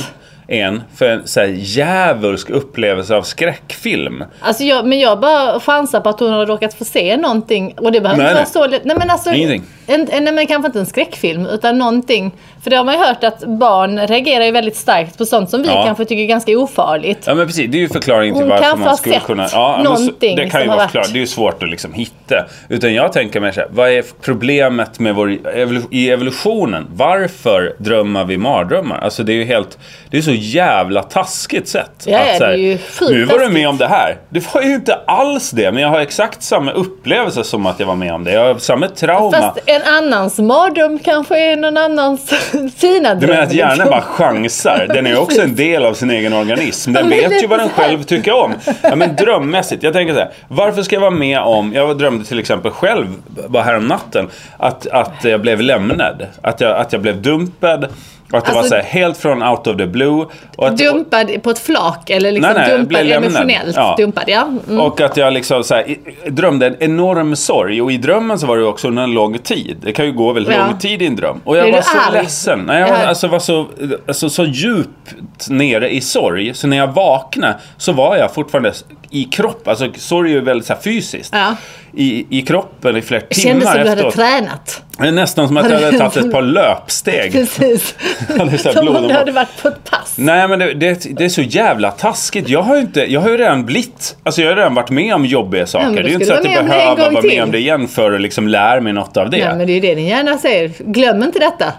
Speaker 1: en för en så här djävulsk upplevelse av skräckfilm?
Speaker 2: Alltså jag, men jag bara chansar på att hon har råkat få se någonting. Och det behöver
Speaker 1: Nej,
Speaker 2: inte vara
Speaker 1: nej.
Speaker 2: så lätt. Nej men alltså.
Speaker 1: Ingenting.
Speaker 2: En, en, nej men kanske inte en skräckfilm utan någonting. För det har man ju hört att barn reagerar ju väldigt starkt på sånt som vi
Speaker 1: Ja.
Speaker 2: kanske tycker är ganska ofarligt.
Speaker 1: Ja men precis, det är ju förklaringen till
Speaker 2: Hon
Speaker 1: varför
Speaker 2: kanske
Speaker 1: man
Speaker 2: har
Speaker 1: skulle
Speaker 2: sett
Speaker 1: kunna... Ja, men så-
Speaker 2: någonting
Speaker 1: Det kan ju
Speaker 2: som
Speaker 1: vara
Speaker 2: har varit-
Speaker 1: förklarat, det är ju svårt att liksom hitta. Utan jag tänker mig så här, vad är problemet med vår evolu- i evolutionen? Varför drömmar vi mardrömmar? Alltså det är ju helt... Det är så jävla taskigt sätt.
Speaker 2: Ja, ja,
Speaker 1: så här,
Speaker 2: det är ju sjukt
Speaker 1: Nu var du med
Speaker 2: taskigt.
Speaker 1: om det här. Det var ju inte alls det, men jag har exakt samma upplevelse som att jag var med om det. Jag har samma trauma.
Speaker 2: Fast en annans mardröm kanske är någon annans fina dröm.
Speaker 1: Du menar att hjärnan
Speaker 2: liksom.
Speaker 1: bara chansar? Den är ju också en del av sin egen organism. Den
Speaker 2: men
Speaker 1: vet
Speaker 2: lite
Speaker 1: ju vad den
Speaker 2: så här.
Speaker 1: själv tycker om. Ja, men drömmässigt. Jag tänker så här. Varför ska jag vara med om... Jag drömde till exempel själv, bara härom natten att, att jag blev lämnad. Att jag, att jag blev dumpad. Och att det var
Speaker 2: Alltså-
Speaker 1: så här, helt från out of the blue. Och att,
Speaker 2: Dumpad på ett flak eller liksom
Speaker 1: Nej, nej, blev
Speaker 2: dumpad
Speaker 1: lämnad.
Speaker 2: emotionellt.
Speaker 1: Ja.
Speaker 2: Dumpad, ja. Mm.
Speaker 1: Och att jag liksom så här, i- drömde en enorm sorg. Och i drömmen så var det också under en lång tid. tid. Det kan ju gå väldigt
Speaker 2: Ja.
Speaker 1: lång tid i en dröm. Och jag
Speaker 2: Blir
Speaker 1: var
Speaker 2: du
Speaker 1: så
Speaker 2: arg?
Speaker 1: ledsen. Nej, jag
Speaker 2: Ja.
Speaker 1: alltså, var så, alltså, så djupt nere i sorg. Så när jag vaknade så var jag fortfarande i kropp. Alltså sorg är ju väldigt så här, fysiskt.
Speaker 2: Ja.
Speaker 1: I, I kroppen i flera
Speaker 2: Det
Speaker 1: timmar
Speaker 2: kändes som du hade
Speaker 1: efteråt.
Speaker 2: tränat.
Speaker 1: Det är nästan som att jag hade tagit ett par löpsteg.
Speaker 2: Precis.
Speaker 1: hade så här
Speaker 2: Som om
Speaker 1: blodomlopp.
Speaker 2: du hade varit på ett pass.
Speaker 1: Nej men det, det, det är så jävla taskigt. Jag har ju, inte, jag har ju redan blivit, alltså jag har redan varit med om jobbiga saker.
Speaker 2: men
Speaker 1: det
Speaker 2: då
Speaker 1: är ju inte så
Speaker 2: ska
Speaker 1: att
Speaker 2: du
Speaker 1: jag
Speaker 2: vara med om det en
Speaker 1: behöver
Speaker 2: gång
Speaker 1: vara
Speaker 2: till.
Speaker 1: med om det igen för att liksom lära mig något av det.
Speaker 2: Ja, men det är ju det din hjärna säger. Glöm inte detta.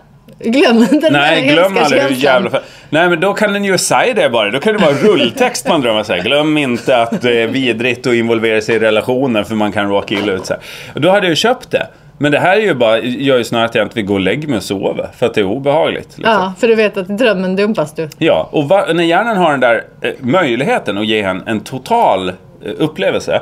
Speaker 2: Glöm inte den här
Speaker 1: Nej, glöm
Speaker 2: hemska
Speaker 1: aldrig hur
Speaker 2: känslan.
Speaker 1: jävla... Nej, men då kan den ju säga det bara. Då kan det vara rulltext man drömmer sig. Glöm inte att det är vidrigt att involvera sig i relationer för man kan råka illa ut. Så här. Och Då hade jag ju köpt det. Men det här är ju bara, gör ju snarare att jag inte vill gå och lägga mig och sova. För att det är obehagligt. Liksom.
Speaker 2: Ja, för du vet att i drömmen dumpas du.
Speaker 1: Ja, och va- när hjärnan har den där eh, möjligheten att ge en en total eh, upplevelse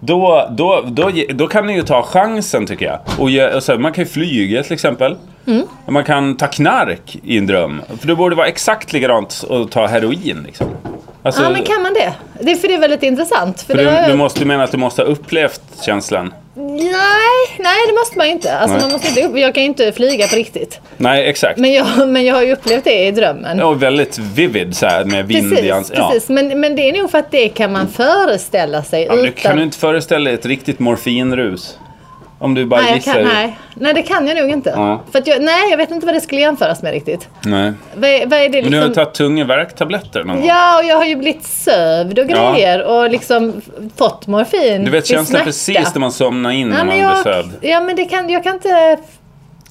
Speaker 1: då, då, då, ge- då kan den ju ta chansen tycker jag. Och ge, och så här, man kan ju flyga till exempel.
Speaker 2: Mm.
Speaker 1: Man kan ta knark i en dröm. För det borde vara exakt likadant att ta heroin. Liksom. Alltså,
Speaker 2: Ja, men kan man det? det är för det är väldigt intressant. För det har
Speaker 1: du,
Speaker 2: jag-
Speaker 1: du, måste, du menar att du måste ha upplevt känslan?
Speaker 2: Nej, nej, det måste man ju inte. Alltså,
Speaker 1: Nej.
Speaker 2: man måste inte upp... Jag kan ju inte flyga på riktigt.
Speaker 1: Nej, exakt.
Speaker 2: Men jag, men jag har ju upplevt det i drömmen.
Speaker 1: Ja, och väldigt vivid så här, med vind i
Speaker 2: Precis,
Speaker 1: ans- ja.
Speaker 2: precis. Men, men det är nog för att det kan man föreställa sig
Speaker 1: Ja, men du
Speaker 2: utan...
Speaker 1: kan du inte föreställa dig ett riktigt morfinrus? Om du bara
Speaker 2: nej, jag
Speaker 1: gissar.
Speaker 2: kan, nej. nej, det kan jag nog inte.
Speaker 1: Ja.
Speaker 2: För att jag, nej, jag vet inte vad det skulle jämföras med riktigt.
Speaker 1: nej.
Speaker 2: Vad är, vad är det
Speaker 1: Men du har
Speaker 2: liksom...
Speaker 1: tagit tungvärktabletter någon gång?
Speaker 2: Ja, och jag har ju blivit sövd och
Speaker 1: Ja.
Speaker 2: grejer och liksom fått morfin
Speaker 1: Du vet
Speaker 2: vid
Speaker 1: känslan
Speaker 2: smärta.
Speaker 1: precis när man somnar in när
Speaker 2: Ja,
Speaker 1: man
Speaker 2: men
Speaker 1: blir
Speaker 2: jag,
Speaker 1: sövd.
Speaker 2: ja, men det kan, jag kan inte...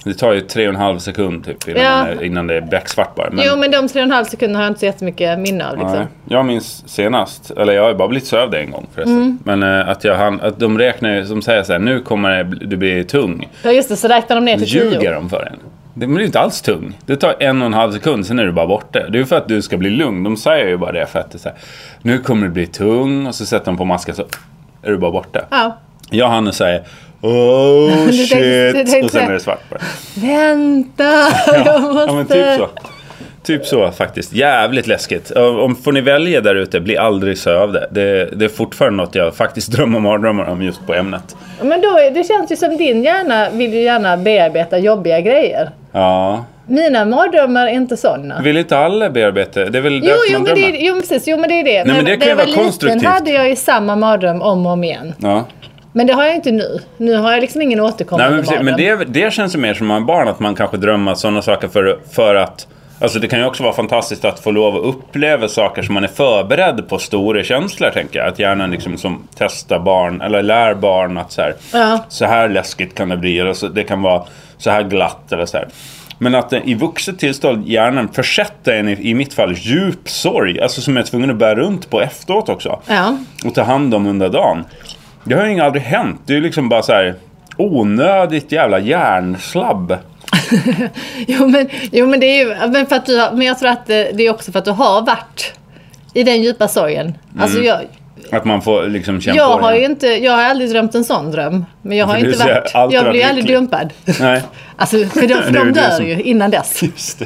Speaker 1: Det tar ju tre och en halv sekund typ innan,
Speaker 2: Ja.
Speaker 1: man är, innan det är becksvart bara. Men,
Speaker 2: Jo, men de tre och en halv sekunderna har jag inte så jättemycket minne av. Liksom.
Speaker 1: nej. Jag minns senast, eller jag har ju bara blivit sövd en gång förresten.
Speaker 2: Mm.
Speaker 1: Men eh, att, jag hann, att de räknar ju, som säger så här, nu kommer det, bli- du bli tung.
Speaker 2: Ja, just det, så räknar de ner till
Speaker 1: Ljuger
Speaker 2: tio.
Speaker 1: de för en? Det blir ju inte alls tung. Det tar en och en halv sekund, sen är du bara borta. Det är ju för att du ska bli lugn. De säger ju bara det för att det är så här, nu kommer du bli tung och så sätter de på masken så är du bara borta.
Speaker 2: Ja.
Speaker 1: Jag hann och säger Oh
Speaker 2: tänkte- du
Speaker 1: shit!
Speaker 2: tänkte-
Speaker 1: Och sen är det svart bara.
Speaker 2: Vänta, jag måste...
Speaker 1: Ja men typ så.
Speaker 2: eh,
Speaker 1: Typ så faktiskt. Jävligt läskigt. Om om- får ni välja där ute, bli aldrig sövda. Det, det är fortfarande något jag faktiskt drömmer mardrömmar om just på ämnet.
Speaker 2: Men då, är- det känns ju som din hjärna vill ju gärna bearbeta jobbiga grejer.
Speaker 1: Ja.
Speaker 2: Mina mardrömmar är inte sådana.
Speaker 1: Vill inte alla bearbeta? Det är väl
Speaker 2: Jo,
Speaker 1: därför
Speaker 2: jo,
Speaker 1: man
Speaker 2: men
Speaker 1: drömmer?
Speaker 2: det, är- jo, men precis, jo men det är det.
Speaker 1: men
Speaker 2: När-
Speaker 1: det kan
Speaker 2: när
Speaker 1: ju
Speaker 2: jag
Speaker 1: vara
Speaker 2: var liten
Speaker 1: konstruktivt.
Speaker 2: hade jag ju samma mardröm om och om igen.
Speaker 1: Ja.
Speaker 2: Men det har jag inte nu. Nu har jag liksom ingen
Speaker 1: Nej,
Speaker 2: återkommande
Speaker 1: men, precis,
Speaker 2: mardröm.
Speaker 1: men det, det känns ju mer som när man är barn, att man kanske drömmer sådana saker för, för att Alltså det kan ju också vara fantastiskt att få lov att uppleva saker som man är förberedd på, stora känslor tänker jag. Att hjärnan liksom som testar barn, eller lär barn att så här,
Speaker 2: Ja.
Speaker 1: så här läskigt kan det bli, eller så, det kan vara så här glatt eller så här. Men att eh, i vuxet tillstånd hjärnan försätter en, i, i mitt fall, djup sorg, alltså som jag är tvungen att bära runt på efteråt också
Speaker 2: Ja.
Speaker 1: och ta hand om under dagen. Det har ju aldrig hänt. Det är ju liksom bara så här onödigt jävla hjärnslabb.
Speaker 2: Jo, men, jo, men det är ju... Men, för att du har, men jag tror att eh, det, det är också för att du har varit i den djupa sorgen.
Speaker 1: Mm.
Speaker 2: Alltså jag...
Speaker 1: Att man får liksom känna
Speaker 2: Jag
Speaker 1: på det.
Speaker 2: har ju inte, jag har aldrig drömt en sån dröm. Men jag har
Speaker 1: Du
Speaker 2: inte
Speaker 1: säger
Speaker 2: varit,
Speaker 1: alltid
Speaker 2: jag
Speaker 1: varit
Speaker 2: blir ju aldrig
Speaker 1: lycklig.
Speaker 2: dumpad.
Speaker 1: Nej.
Speaker 2: Alltså, för de,
Speaker 1: Det är
Speaker 2: för
Speaker 1: ju
Speaker 2: de
Speaker 1: det
Speaker 2: dör
Speaker 1: som-
Speaker 2: ju innan dess.
Speaker 1: Just det.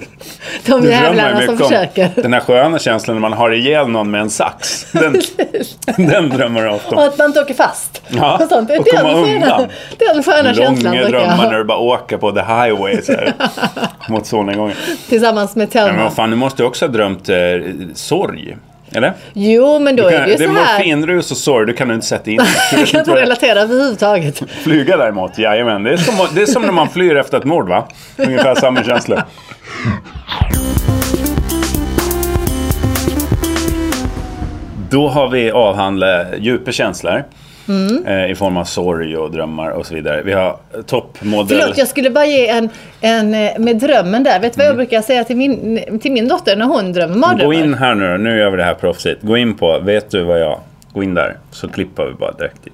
Speaker 1: Du
Speaker 2: De
Speaker 1: drömmer
Speaker 2: jävlarna
Speaker 1: ju
Speaker 2: som
Speaker 1: mycket om
Speaker 2: försöker.
Speaker 1: den här sköna känslan när man har ihjäl någon med en sax. Den, den drömmer jag ofta
Speaker 2: Och
Speaker 1: om.
Speaker 2: att man inte åker fast.
Speaker 1: Ja,
Speaker 2: och sånt.
Speaker 1: och
Speaker 2: den,
Speaker 1: komma
Speaker 2: sköna-
Speaker 1: undan.
Speaker 2: den sköna
Speaker 1: Långa
Speaker 2: känslan brukar jag
Speaker 1: drömmar när
Speaker 2: ha.
Speaker 1: du bara åker på the highway så här. Mot solnedgången.
Speaker 2: Tillsammans med
Speaker 1: Men
Speaker 2: Telma.
Speaker 1: vad fan, du måste ju också ha drömt eh, sorg. Eller?
Speaker 2: jo, men då
Speaker 1: Du
Speaker 2: är
Speaker 1: kan,
Speaker 2: det ju
Speaker 1: det är
Speaker 2: så här.
Speaker 1: morfinrus och sorg, du kan du inte sätta in. det. Du
Speaker 2: Jag
Speaker 1: vet
Speaker 2: kan inte
Speaker 1: vad det är.
Speaker 2: relatera överhuvudtaget.
Speaker 1: Flyga däremot, jajamän. Det är, som, det är som när man flyr efter ett mord va? Ungefär samma känsla. Då har vi avhandlat djupa känslor.
Speaker 2: Mm.
Speaker 1: Eh, I form av sorg och drömmar och så vidare. Vi har toppmodell.
Speaker 2: Förlåt, jag skulle bara ge en, en eh, med drömmen där. Vet du vad jag brukar säga till min, till min dotter när hon drömmer
Speaker 1: Mm. Gå
Speaker 2: mardrömmar?
Speaker 1: in här nu då. Nu gör vi det här proffsigt. Gå in på, vet du vad jag... Gå in där, så klipper vi bara direkt dit.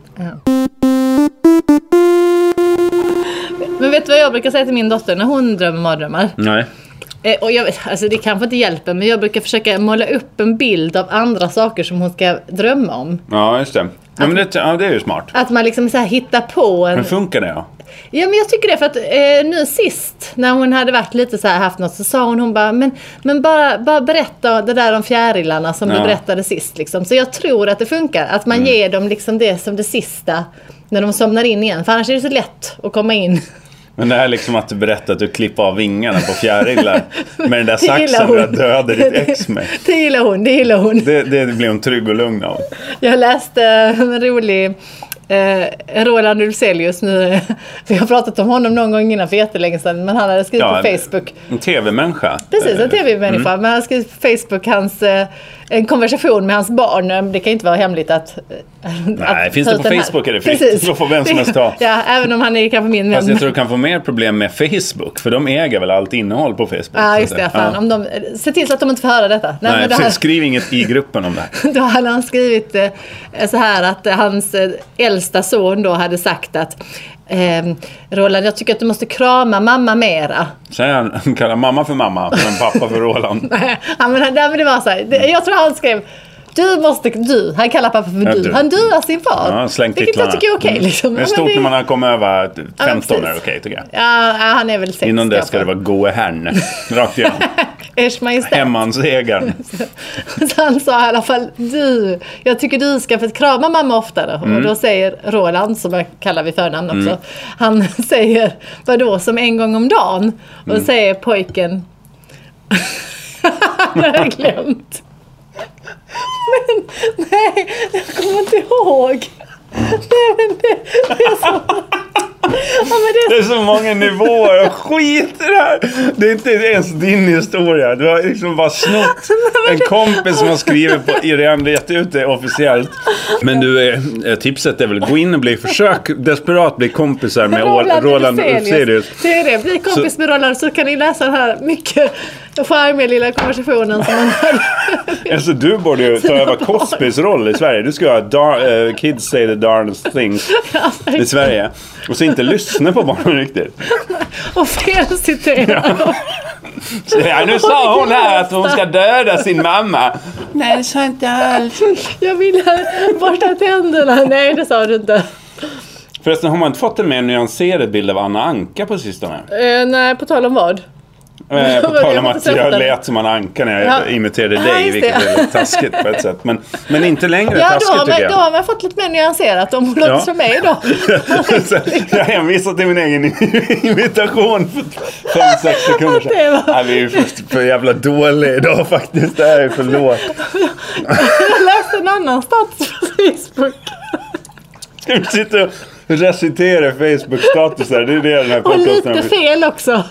Speaker 2: Men vet du vad jag brukar säga till min dotter när hon drömmer mardrömmar?
Speaker 1: Nej.
Speaker 2: Eh, Och jag, alltså det kanske inte hjälper men jag brukar försöka måla upp en bild av andra saker som hon ska drömma om.
Speaker 1: Ja, just det. Ja, men det, ja, det är ju smart.
Speaker 2: Att man liksom så här hittar på en...
Speaker 1: Men funkar det då?
Speaker 2: Ja men jag tycker det för att eh, nu sist när hon hade varit lite så här haft något så sa hon, hon bara men, men bara, bara berätta det där om fjärilarna som du
Speaker 1: Ja. Mm.
Speaker 2: berättade sist liksom. Så jag tror att det funkar. Att man ger dem liksom det som det sista när de somnar in igen. För annars är det så lätt att komma in
Speaker 1: Men det här är liksom att du berättar att du klipper av vingarna på fjärilar med den där
Speaker 2: Det gillar
Speaker 1: saxen
Speaker 2: hon.
Speaker 1: du har dödat ditt ex med.
Speaker 2: Det gillar hon, det gillar hon.
Speaker 1: Det, det blir hon trygg och lugn av.
Speaker 2: Jag läste en rolig eh, Roland Ulfzelius nu. Vi har pratat om honom någon gång innan för jättelänge sedan. Men han hade skrivit
Speaker 1: Ja,
Speaker 2: på Facebook.
Speaker 1: En tv-människa. Eh,
Speaker 2: Precis, en tv-människa.
Speaker 1: mm.
Speaker 2: Men han skrev på Facebook hans, eh, en konversation med hans barn. eh, Det kan ju inte vara hemligt att...
Speaker 1: Nej, finns det på Facebook är det fritt. Då får vem som helst ta.
Speaker 2: Ja, även om han är kanske min vän.
Speaker 1: Fast jag tror du kan få mer problem med Facebook, för de äger väl allt innehåll på Facebook?
Speaker 2: Ja,
Speaker 1: så
Speaker 2: Ah, just
Speaker 1: att säga.
Speaker 2: det. Fan,
Speaker 1: Ja.
Speaker 2: om de, se till så att de inte får höra detta. Nej,
Speaker 1: Nej,
Speaker 2: men då,
Speaker 1: precis,
Speaker 2: har,
Speaker 1: skriv inget i gruppen om det här.
Speaker 2: då hade han skrivit eh, så här att eh, hans eh, äldsta son då hade sagt att ehm, Roland, jag tycker att du måste krama mamma mera.
Speaker 1: Säger han, han kallar mamma för mamma, men pappa för Roland.
Speaker 2: ja, men, han- nej, men det var så här. Det, jag tror han skrev du måste, du. Han kallar pappa för
Speaker 1: Ja,
Speaker 2: du.
Speaker 1: du.
Speaker 2: Han duar sin far.
Speaker 1: Ja, han har slängt
Speaker 2: vilket
Speaker 1: titlarna.
Speaker 2: jag tycker är okej.
Speaker 1: Mm.
Speaker 2: liksom.
Speaker 1: Det är
Speaker 2: Ja, men
Speaker 1: stort
Speaker 2: det-
Speaker 1: när man har kommit över 15
Speaker 2: precis.
Speaker 1: är okej, tycker jag.
Speaker 2: Ja, ja, han är väl sex.
Speaker 1: Innan
Speaker 2: i alla
Speaker 1: det ska det
Speaker 2: fall.
Speaker 1: vara goe herrn, rakt igenom.
Speaker 2: Ers Majestät.
Speaker 1: Hemmansegern.
Speaker 2: Så han sa i alla fall du, jag tycker du ska för att krama mamma oftare. Och då säger Roland, som jag kallar vid förnamn också, han säger vadå som en gång om dagen? Och säger pojken, det har jag glömt. Men nej, jag kommer inte ihåg. Nej men det, det är så... Ja, men det
Speaker 1: Det
Speaker 2: är
Speaker 1: är så många nivåer, jag skiter i det här. Det är inte ens din historia. Du har liksom bara snott en kompis som har skrivit på, i redan gett ut det officiellt. Men du, eh, tipset är väl gå in och bli, försök desperat bli kompisar med Roland, Roland Ulfzelius.
Speaker 2: Det är det. Bli kompis med Roland så kan ni läsa den här mycket charmiga lilla konversationen som han hade.
Speaker 1: Alltså du borde ju ta över Cosbys roll i Sverige. Du ska ha dar- eh, Kids say the darndest things i Sverige. Och så inte lyssna på barnen riktigt.
Speaker 2: och felciterar.
Speaker 1: Så, ja, nu sa hon här att hon ska döda sin mamma. Nej, det sa inte alls.
Speaker 2: Jag ville borsta tänderna. Nej, det sa du inte.
Speaker 1: Förresten, har man inte fått en mer nyanserad bild av Anna Anka på sistone?
Speaker 2: Eh, nej, på tal om vad?
Speaker 1: Eh, på
Speaker 2: Jag
Speaker 1: tal om
Speaker 2: måste
Speaker 1: att jag
Speaker 2: sätta den.
Speaker 1: lät som Anna Anka när jag
Speaker 2: Ja.
Speaker 1: imiterade
Speaker 2: Ja,
Speaker 1: dig,
Speaker 2: just
Speaker 1: vilket
Speaker 2: det.
Speaker 1: är lite taskigt på ett sätt. Men, men inte längre
Speaker 2: Ja, då
Speaker 1: taskigt
Speaker 2: har, man,
Speaker 1: tycker
Speaker 2: då
Speaker 1: jag.
Speaker 2: har man fått lite mer nyanserat om hon låter
Speaker 1: Ja.
Speaker 2: som mig då.
Speaker 1: Så jag hänvisar till min egen imitation för 5-6 sekunder sedan.
Speaker 2: Det var-
Speaker 1: Nej, vi är ju för, för jävla dåliga idag faktiskt. Det här är för lågt.
Speaker 2: Jag läste en annan stats på Facebook.
Speaker 1: Ska vi sitta och recitera Facebook-statusar? Det är det den här
Speaker 2: Och
Speaker 1: podcasten
Speaker 2: lite fel också.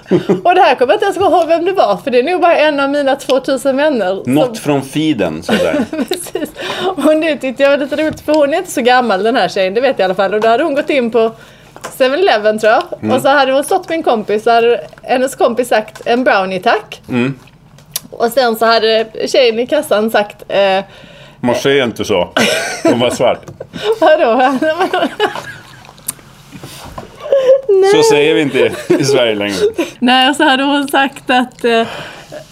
Speaker 2: Och det här kommer jag inte ens ihåg vem det var. För det är nog bara en av mina 2000 vänner.
Speaker 1: Något från feeden, sådär.
Speaker 2: Precis. Och det tyckte jag var lite roligt för hon är inte så gammal den här tjejen, det vet jag i alla fall. Och då hade hon gått in på 7-Eleven tror jag. Och så hade hon stått med en kompis, så hade hennes kompis sagt en brownie tack. Och sen så hade tjejen i kassan sagt eh,
Speaker 1: Man ser inte så. Hon var svart.
Speaker 2: Vadå?
Speaker 1: Så säger vi inte i Sverige längre.
Speaker 2: nej, och så hade hon sagt att eh,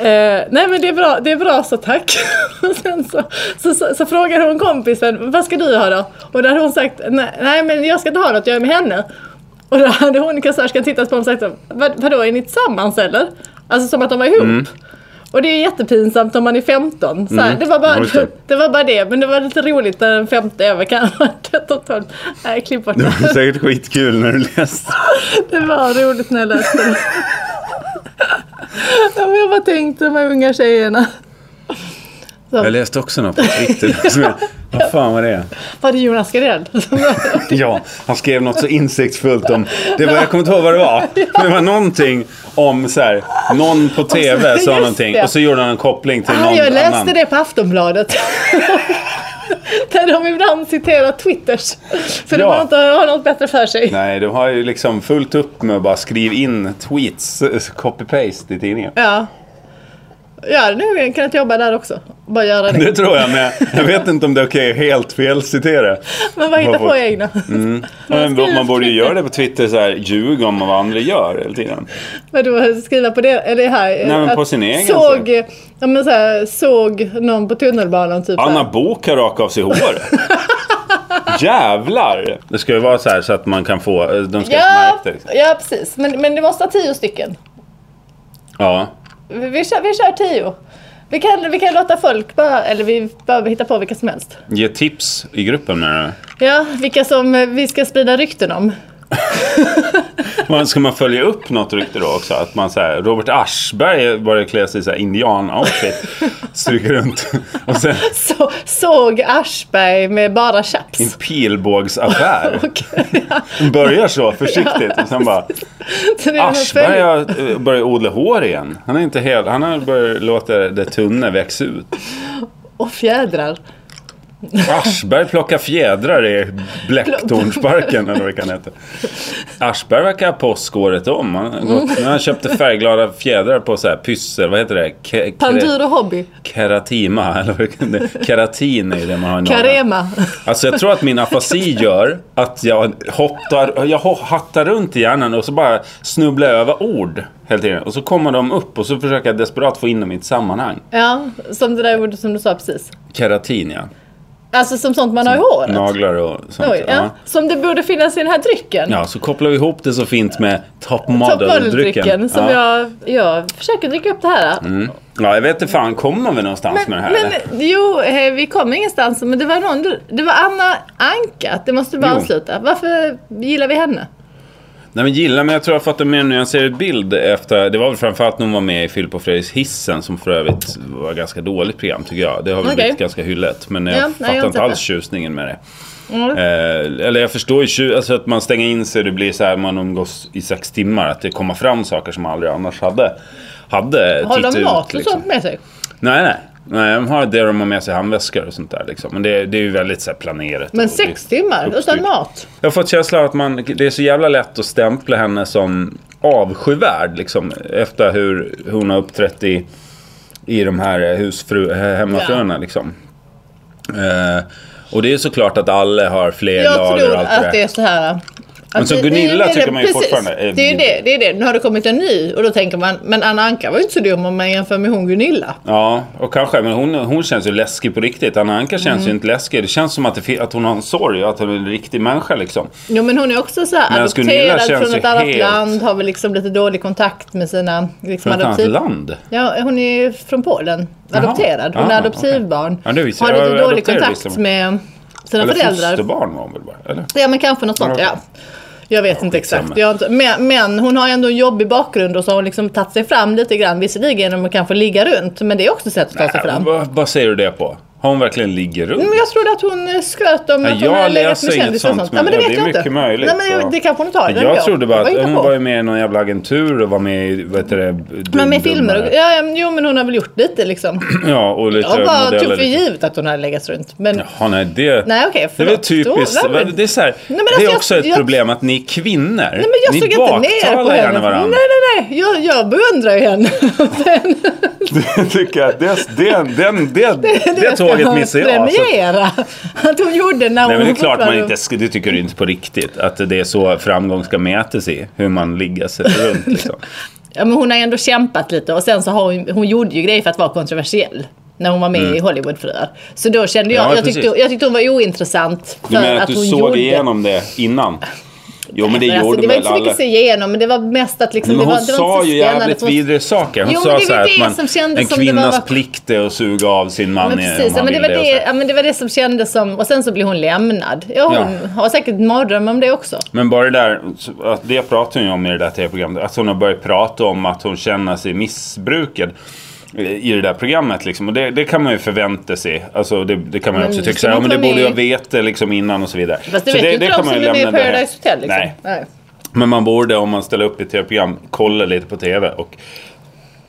Speaker 2: eh, nej men det är bra, det är bra så tack. Och sen så, så, så, så frågade hon kompisen, vad ska du ha då? Och då hade hon sagt, nej, nej men jag ska inte ha något, jag är med henne. Och då hade hon kassörskan tittat på honom och sagt, vad, vadå är ni tillsammans eller? Alltså som att de var ihop.
Speaker 1: Mm.
Speaker 2: Och det är jättepinsamt om man är 15. Så här, det, var bara,
Speaker 1: Ja, just det.
Speaker 2: det. var bara det, men det var lite roligt när den femte över kan ha varit 13-12. Nej, klipp bort det.
Speaker 1: Det är säkert skitkul när du läste.
Speaker 2: Det var roligt när jag läste det. Ja, men jag bara tänkte de här unga tjejerna.
Speaker 1: Jag läste också något på Twitter. som jag- Vad fan var det?
Speaker 2: Var det Jonas Gardell?
Speaker 1: Ja, han skrev något så insiktsfullt om... Det var, jag kommer inte ihåg vad det var. Men det var någonting om så här, någon på TV
Speaker 2: Just
Speaker 1: sa
Speaker 2: det.
Speaker 1: någonting. Och så gjorde han en koppling till
Speaker 2: Ah,
Speaker 1: någon
Speaker 2: jag läste
Speaker 1: annan.
Speaker 2: det på Aftonbladet. Där de ibland citerar Twitters. För
Speaker 1: Ja.
Speaker 2: de har inte har något bättre för sig.
Speaker 1: Nej, de har ju liksom fullt upp med att bara skriva in tweets, eh, copy-paste i tidningen.
Speaker 2: Ja. Ja, nu kan jag inte jobba där också. Bara göra det.
Speaker 1: Det tror jag, men jag vet inte om det är okej att helt felcitera.
Speaker 2: Men bara hitta på egna.
Speaker 1: Mm. Men
Speaker 2: skriver
Speaker 1: man
Speaker 2: på
Speaker 1: borde ju
Speaker 2: Twitter.
Speaker 1: göra det på Twitter, så här, ljuga om vad andra gör hela tiden.
Speaker 2: Men då skriva på det, eller här. Nej,
Speaker 1: men på sin egen
Speaker 2: Såg, ja, men så här, såg någon på tunnelbanan typ. så här.
Speaker 1: Anna Bok har rakat av sig håret. Jävlar! Det ska ju vara så här så att man kan få, eh, de ska
Speaker 2: Ja,
Speaker 1: märka det. liksom.
Speaker 2: ja precis. Men, men det måste ha tio stycken.
Speaker 1: Ja.
Speaker 2: Vi, vi, kör, vi kör tio. Vi kan, vi kan låta folk bara, eller vi behöver hitta på vilka som helst.
Speaker 1: Ge tips i gruppen menar du?
Speaker 2: Ja, vilka som eh, vi ska sprida rykten om.
Speaker 1: Men Ska man följa upp något rykte då också? Att man så här, Robert Aschberg börjar klä sig i så här indian-outfit. Stryker runt. Och sen
Speaker 2: Så, såg Aschberg med bara
Speaker 1: en
Speaker 2: chaps.
Speaker 1: pilbågsaffär.
Speaker 2: Okej, ja.
Speaker 1: Börjar så försiktigt och sen bara
Speaker 2: Så det är en
Speaker 1: Aschberg
Speaker 2: följd.
Speaker 1: har eh, börjat odla hår igen. Han är inte hel, han har börjat låta det tunna växa ut.
Speaker 2: Och fjädrar.
Speaker 1: Aschberg plockar fjädrar i Blecktornsparken eller vad det kan heta. Aschberg verkar ha påsk året om. Han, har gått,
Speaker 2: Mm.
Speaker 1: när han köpte färgglada fjädrar på så här pyssel, vad heter det? Ke-
Speaker 2: Panduro hobby.
Speaker 1: Keratima, eller vad det kan det- Keratin är ju det man har i Norrland.
Speaker 2: Karema.
Speaker 1: Alltså jag tror att min afasi gör att jag hoppar, jag ho- hattar runt i hjärnan och så bara snubblar jag över ord hela tiden. Och så kommer de upp och så försöker jag desperat få in dem i ett sammanhang.
Speaker 2: Ja, som det där ordet som du sa precis.
Speaker 1: Keratin ja.
Speaker 2: Alltså som sånt man har i håret.
Speaker 1: Naglar och sånt.
Speaker 2: Oj, ja.
Speaker 1: ja.
Speaker 2: Som det borde finnas i den här drycken.
Speaker 1: Ja, så kopplar vi ihop det så fint med top model-drycken.
Speaker 2: Toppöldrycken som
Speaker 1: ja.
Speaker 2: jag, jag försöker dricka upp det här.
Speaker 1: Mm. ja, jag vet inte fan, kommer vi någonstans med det här?
Speaker 2: Men,
Speaker 1: eller?
Speaker 2: jo, eh, vi kom ingenstans. Men det var någon du- Det var Anna Anka. Det måste du bara
Speaker 1: Jo.
Speaker 2: avsluta. Varför gillar vi henne?
Speaker 1: Nej, men gilla, men jag tror jag fattar mer nu. Jag ser en bild efter, det var väl framförallt när hon var med i Filip och Fredriks Hissen som för övrigt var ett ganska dåligt program tycker jag. Det har väl
Speaker 2: Okej.
Speaker 1: blivit ganska hyllat. Men jag
Speaker 2: Ja, nej, jag
Speaker 1: fattar
Speaker 2: har
Speaker 1: inte
Speaker 2: sett
Speaker 1: alls
Speaker 2: det. Mm.
Speaker 1: tjusningen med det. Eh, eller jag förstår ju tju- alltså att man stänger in sig, det blir så här man umgås i sex timmar. Att det kommer fram saker som man aldrig annars hade, hade
Speaker 2: Har
Speaker 1: tytt
Speaker 2: de
Speaker 1: ut,
Speaker 2: mat och
Speaker 1: liksom.
Speaker 2: sånt med sig?
Speaker 1: Nej, nej. Nej, de har det de har med sig handväskor och sånt där. Liksom. Men det, det är ju väldigt så här, planerat.
Speaker 2: Men
Speaker 1: och
Speaker 2: sex
Speaker 1: det-
Speaker 2: timmar
Speaker 1: uppstyrt.
Speaker 2: utan mat?
Speaker 1: Jag har fått känslan av att man, det är så jävla lätt att stämpla henne som avskyvärd. Liksom, efter hur hon har uppträtt i, i de här eh, husfru, eh, hemmafruarna. Liksom. Eh, och det är såklart att alla har fler
Speaker 2: Jag
Speaker 1: lager
Speaker 2: tror
Speaker 1: och allt det
Speaker 2: att det
Speaker 1: där.
Speaker 2: är så här.
Speaker 1: Men
Speaker 2: att
Speaker 1: så
Speaker 2: det-
Speaker 1: Gunilla
Speaker 2: det- det-
Speaker 1: tycker man ju
Speaker 2: precis.
Speaker 1: fortfarande är-
Speaker 2: Det är ju det, det är det. Nu har det kommit en ny och då tänker man, men Anna Anka var ju inte så dum om man jämför med hon Gunilla.
Speaker 1: Ja, och kanske. Men hon, hon känns ju läskig på riktigt. Anna Anka känns
Speaker 2: Mm.
Speaker 1: ju inte läskig. Det känns som att, det, fi- att hon har en sorg och att hon är en riktig människa liksom.
Speaker 2: Jo men hon är också så här
Speaker 1: Men Gunilla
Speaker 2: adopterad
Speaker 1: känns
Speaker 2: från
Speaker 1: ju
Speaker 2: ett annat
Speaker 1: helt-
Speaker 2: land, har väl liksom lite dålig kontakt med sina liksom,
Speaker 1: Från ett annat
Speaker 2: adoptiv...
Speaker 1: land.
Speaker 2: Ja, hon är ju från Polen.
Speaker 1: Jaha.
Speaker 2: Adopterad. Hon är
Speaker 1: Ah,
Speaker 2: adoptivbarn.
Speaker 1: okej. Ja, det visste
Speaker 2: har
Speaker 1: jag.
Speaker 2: lite
Speaker 1: Jag är
Speaker 2: dålig
Speaker 1: adopterad,
Speaker 2: kontakt
Speaker 1: visste jag.
Speaker 2: med sina
Speaker 1: Eller
Speaker 2: föräldrar.
Speaker 1: fosterbarn var hon väl bara? Eller?
Speaker 2: Ja men kanske något sånt,
Speaker 1: Ja,
Speaker 2: ja. Jag vet inte
Speaker 1: skitsamma.
Speaker 2: exakt. Jag har inte, men, men hon har ju ändå en jobbig bakgrund och så har hon liksom tagit sig fram lite grann. Visserligen genom att kanske ligga runt, men det är också ett sätt att ta sig
Speaker 1: Äh,
Speaker 2: fram. Mm,
Speaker 1: vad, vad säger du det på? Har hon verkligen ligger runt?
Speaker 2: Men jag trodde att hon eh, skröt om
Speaker 1: Nej,
Speaker 2: att hon
Speaker 1: jag
Speaker 2: hade legat
Speaker 1: läser
Speaker 2: med
Speaker 1: inget
Speaker 2: kändisar och
Speaker 1: sånt,
Speaker 2: sånt.
Speaker 1: men
Speaker 2: Nej, men det
Speaker 1: ja, det
Speaker 2: vet
Speaker 1: är
Speaker 2: jag inte.
Speaker 1: mycket möjligt,
Speaker 2: Nej, men
Speaker 1: så-
Speaker 2: jag, det kanske hon tar.
Speaker 1: jag
Speaker 2: det vet
Speaker 1: trodde bara
Speaker 2: Det
Speaker 1: att
Speaker 2: inte
Speaker 1: hon
Speaker 2: på.
Speaker 1: var ju med i någon jävla agentur och var med i, vad heter det, dum,
Speaker 2: Men med filmer och,
Speaker 1: Dummare.
Speaker 2: ja, ja, men- Jo men hon har väl gjort lite liksom.
Speaker 1: Ja, och lite
Speaker 2: Jag bara tog
Speaker 1: modeller.
Speaker 2: för givet att hon hade legat runt. Men
Speaker 1: Ja, nej, det,
Speaker 2: Nej, okej,
Speaker 1: det är väl
Speaker 2: förlåt.
Speaker 1: typiskt.
Speaker 2: Då- nej, men-
Speaker 1: det är, så här,
Speaker 2: men
Speaker 1: det
Speaker 2: alltså,
Speaker 1: är
Speaker 2: jag-
Speaker 1: också ett
Speaker 2: jag-
Speaker 1: problem att ni är kvinnor.
Speaker 2: Nej men jag
Speaker 1: ni
Speaker 2: såg inte ner på
Speaker 1: baktalar
Speaker 2: henne.
Speaker 1: gärna varandra.
Speaker 2: Nej nej nej, jag, jag beundrar ju henne.
Speaker 1: Jag tycker att det, det, den, det, det, tåget missar jag. Alltså.
Speaker 2: Premiera! Att hon gjorde när
Speaker 1: Nej,
Speaker 2: hon
Speaker 1: men det är klart man
Speaker 2: fortfarande-
Speaker 1: inte ska, det tycker du inte på riktigt. Att det är så framgång ska mätas i. Hur man ligger sig runt liksom.
Speaker 2: Ja, men hon har ändå kämpat lite och sen så har hon, hon gjorde ju grejer för att vara kontroversiell. När hon var med i Hollywoodfruar. Så då kände jag,
Speaker 1: Mm. Ja,
Speaker 2: jag, tyckte,
Speaker 1: precis.
Speaker 2: jag tyckte hon var ointressant. För
Speaker 1: Du menar att,
Speaker 2: att
Speaker 1: du
Speaker 2: hon
Speaker 1: såg
Speaker 2: gjorde...
Speaker 1: igenom det innan? Jo men det
Speaker 2: Men alltså,
Speaker 1: gjorde
Speaker 2: det var
Speaker 1: väl
Speaker 2: inte så mycket
Speaker 1: alla.
Speaker 2: att se igenom men det var mest att liksom...
Speaker 1: Men
Speaker 2: det var,
Speaker 1: hon
Speaker 2: det var
Speaker 1: sa
Speaker 2: inte
Speaker 1: ju
Speaker 2: så spännande,
Speaker 1: jävligt
Speaker 2: hon-
Speaker 1: vidare saker. Hon
Speaker 2: Jo, men
Speaker 1: sa
Speaker 2: det
Speaker 1: så
Speaker 2: var
Speaker 1: här
Speaker 2: det
Speaker 1: att man,
Speaker 2: som kändes
Speaker 1: en
Speaker 2: som det
Speaker 1: kvinnas
Speaker 2: var-
Speaker 1: plikt är att suga av sin man
Speaker 2: Men
Speaker 1: eh,
Speaker 2: precis,
Speaker 1: om
Speaker 2: ja,
Speaker 1: han
Speaker 2: men det,
Speaker 1: vill
Speaker 2: var
Speaker 1: det. och så
Speaker 2: det,
Speaker 1: här.
Speaker 2: ja, men det var det som kändes som... Och sen så blev hon lämnad. Ja, hon
Speaker 1: Ja.
Speaker 2: har säkert mardrömmar om det också.
Speaker 1: Men bara det där, att det pratar hon ju om i det där tv-programmet. Att hon har börjat prata om att hon känner sig missbrukad i det där programmet. Liksom. Och det, det kan man ju förvänta sig. Alltså, det, det kan man ju
Speaker 2: Men
Speaker 1: också tycka
Speaker 2: ska
Speaker 1: så här, ja, men
Speaker 2: man
Speaker 1: det
Speaker 2: ta med-
Speaker 1: borde jag veta liksom, innan och så vidare.
Speaker 2: Fast det
Speaker 1: så
Speaker 2: vet ju inte de som är med i
Speaker 1: lämna därhän.
Speaker 2: Paradise Hotel. Liksom.
Speaker 1: Nej. Men man borde om man ställer upp i ett tv-program kolla lite på tv och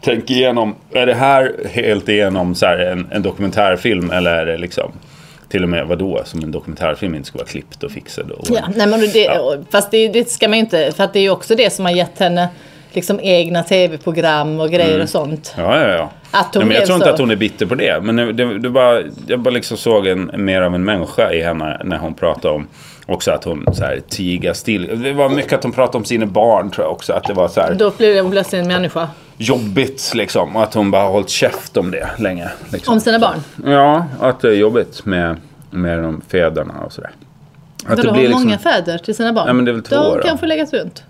Speaker 1: tänka igenom. Är det här helt igenom så här en, en dokumentärfilm eller är det liksom till och med vadå som en dokumentärfilm inte ska vara klippt och fixad? Och
Speaker 2: Ja, nej, men det, Fast det, det ska man ju inte, för att det är ju också det som har gett henne liksom egna tv-program och grejer
Speaker 1: Mm.
Speaker 2: och sånt.
Speaker 1: Ja, ja, ja.
Speaker 2: Att
Speaker 1: Nej, men
Speaker 2: hon
Speaker 1: jag
Speaker 2: blev
Speaker 1: tror inte
Speaker 2: så.
Speaker 1: att hon är bitter på det. Men det, det, det bara, jag bara liksom såg en, mer av en människa i henne när hon pratade om också att hon så här, tiga still. Det var mycket att hon pratade om sina barn tror jag också. Att det var så här
Speaker 2: Då blir hon plötsligt en människa.
Speaker 1: jobbigt liksom. Och att hon bara har hållit käft om det länge. Liksom.
Speaker 2: Om sina barn.
Speaker 1: Ja, att det är jobbigt med, med de fäderna och sådär. Att
Speaker 2: Vadå,
Speaker 1: det
Speaker 2: har
Speaker 1: blir
Speaker 2: hon många
Speaker 1: liksom,
Speaker 2: fäder till sina barn?
Speaker 1: Ja, men det är väl två
Speaker 2: De
Speaker 1: då.
Speaker 2: kan få läggas runt.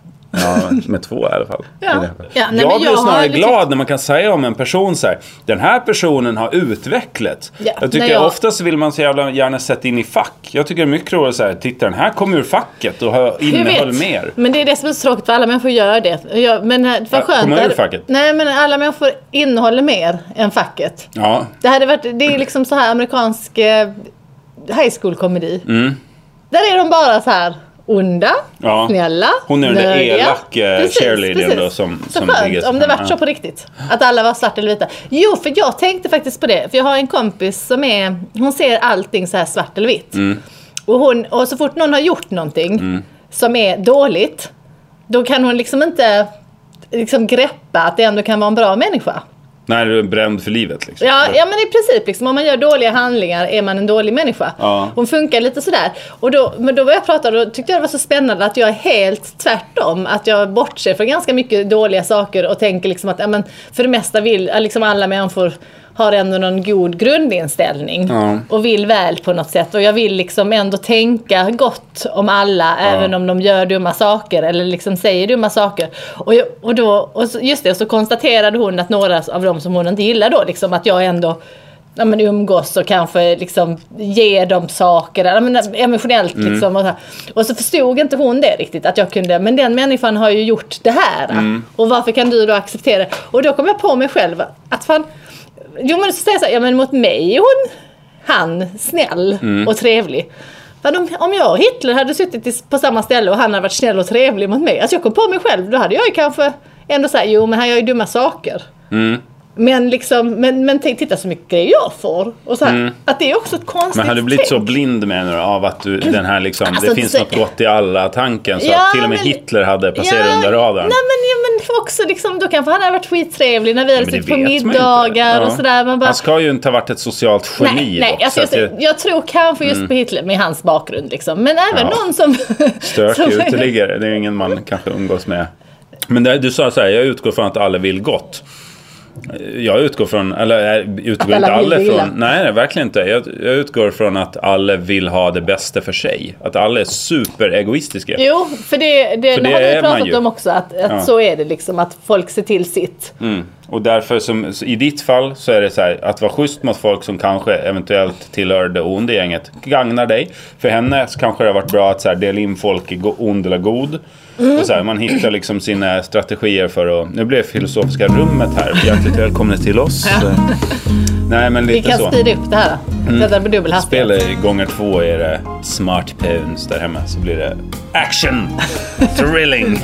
Speaker 1: Ja, med två i alla fall.
Speaker 2: Ja.
Speaker 1: I det här fallet.
Speaker 2: Ja, nej, men
Speaker 1: jag blir
Speaker 2: jag har
Speaker 1: snarare
Speaker 2: liksom-
Speaker 1: glad när man kan säga om en person så här, den här personen har utvecklat.
Speaker 2: Ja,
Speaker 1: jag tycker
Speaker 2: nej, jag-
Speaker 1: oftast vill man så jävla gärna sätta in i fack. Jag tycker det är mycket roligare så här, titta den här kom ur facket och har-
Speaker 2: Jag
Speaker 1: innehöll
Speaker 2: vet.
Speaker 1: mer.
Speaker 2: Men det är det som är så tråkigt för alla människor gör det. Jag, men eh,
Speaker 1: Ja,
Speaker 2: vad skönt.
Speaker 1: kommer ur
Speaker 2: att-
Speaker 1: facket.
Speaker 2: Nej men alla människor innehåller mer än facket.
Speaker 1: Ja,
Speaker 2: Det hade varit, det är liksom så här amerikansk eh, high school komedi. Där är de bara så här onda,
Speaker 1: Mm. Ja.
Speaker 2: snälla,
Speaker 1: Hon är den där
Speaker 2: nördiga.
Speaker 1: elak, eh, cheerleadern då som-
Speaker 2: Så
Speaker 1: som ligger
Speaker 2: skönt
Speaker 1: så
Speaker 2: om det
Speaker 1: här,
Speaker 2: varit
Speaker 1: ja.
Speaker 2: så på riktigt. Att alla var svarta eller vita. Jo, för jag tänkte faktiskt på det. För jag har en kompis som är, hon ser allting så här svart eller vitt.
Speaker 1: Mm.
Speaker 2: Och, hon, och så fort någon har gjort någonting som är dåligt, då kan hon liksom inte liksom greppa att det ändå kan vara en bra människa.
Speaker 1: när du är bränd för livet liksom.
Speaker 2: Ja, ja men i princip. Liksom, om man gör dåliga handlingar är man en dålig människa.
Speaker 1: Ja.
Speaker 2: Hon funkar lite sådär. Och då, men då var jag pratade då tyckte jag det var så spännande att jag är helt tvärtom. Att jag bortser från ganska mycket dåliga saker och tänker liksom att ja, men för det mesta vill ja, liksom alla människor har ändå någon god grundinställning
Speaker 1: Ja.
Speaker 2: och vill väl på något sätt. Och jag vill liksom ändå tänka gott om alla även om de gör dumma saker eller liksom säger dumma saker. Och, jag, och då, och så, just det, så konstaterade hon att några av dem som hon inte gillar då, liksom att jag ändå ja, men umgås och kanske liksom ger dem saker ja, men emotionellt. Liksom, och, så här. och så förstod inte hon det riktigt, att jag kunde, men den människan har ju gjort det här. Och varför kan du då acceptera det? Och då kom jag på mig själv att fan, Jo men så säger jag så här, ja men mot mig är hon, han, snäll
Speaker 1: Mm.
Speaker 2: och trevlig. Men om, om jag och Hitler hade suttit i- på samma ställe och han hade varit snäll och trevlig mot mig. Alltså jag kom på mig själv, då hade jag ju kanske ändå sagt, jo men han gör ju dumma saker.
Speaker 1: Mm.
Speaker 2: Men liksom, men, men t- titta så mycket grejer jag får. Och så här, att det är också ett konstigt
Speaker 1: Mm. Men har du blivit så
Speaker 2: tänk.
Speaker 1: blind med nu av att du, den här liksom,
Speaker 2: Alltså,
Speaker 1: det
Speaker 2: inte
Speaker 1: finns
Speaker 2: så-
Speaker 1: något gott i alla tanken så
Speaker 2: Ja,
Speaker 1: att till och med
Speaker 2: men-
Speaker 1: Hitler hade passerat
Speaker 2: Ja,
Speaker 1: under radarn?
Speaker 2: Nej men, ja, men också liksom, då kanske han hade varit skittrevlig när vi hade
Speaker 1: Men det
Speaker 2: suttit på
Speaker 1: vet man ju inte.
Speaker 2: middagar
Speaker 1: Ja.
Speaker 2: och sådär. Man bara,
Speaker 1: Han ska ju inte ha varit ett socialt geni
Speaker 2: Nej,
Speaker 1: dock,
Speaker 2: nej
Speaker 1: så
Speaker 2: alltså,
Speaker 1: att det- Mm.
Speaker 2: jag, jag tror kanske just på Hitler med hans bakgrund liksom. Men även
Speaker 1: Ja.
Speaker 2: någon som... som-
Speaker 1: Stök uteliggare, det är ingen man kanske umgås med. Men där, du sa så här, jag utgår från att alla vill gott. Jag utgår från, eller jag utgår
Speaker 2: alla
Speaker 1: inte
Speaker 2: vill
Speaker 1: alla
Speaker 2: det illa.
Speaker 1: från, nej, nej verkligen inte. Jag, jag utgår från att alla vill ha det bästa för sig. Att alla är superegoistiska.
Speaker 2: Jo, för det, det,
Speaker 1: det
Speaker 2: har vi
Speaker 1: är man
Speaker 2: pratat
Speaker 1: ju.
Speaker 2: om också att, att
Speaker 1: Ja.
Speaker 2: så är det liksom att folk ser till sitt.
Speaker 1: Mm. Och därför, som, så i ditt fall, så är det så här, att vara schysst mot folk som kanske eventuellt tillhör det onda gänget gagnar dig. För henne så kanske det har varit bra att så här, dela in folk i go- ond eller god. Och så här, man hittar liksom sina strategier för att... Nu blev filosofiska rummet här. Hjärtligt välkomna till oss. Nej, men
Speaker 2: Vi
Speaker 1: lite
Speaker 2: kan
Speaker 1: så. Mm.
Speaker 2: styra upp det här. Detta med dubbel hastighet.
Speaker 1: Spela i gånger två är det smart pounds där hemma så blir det action, thrilling.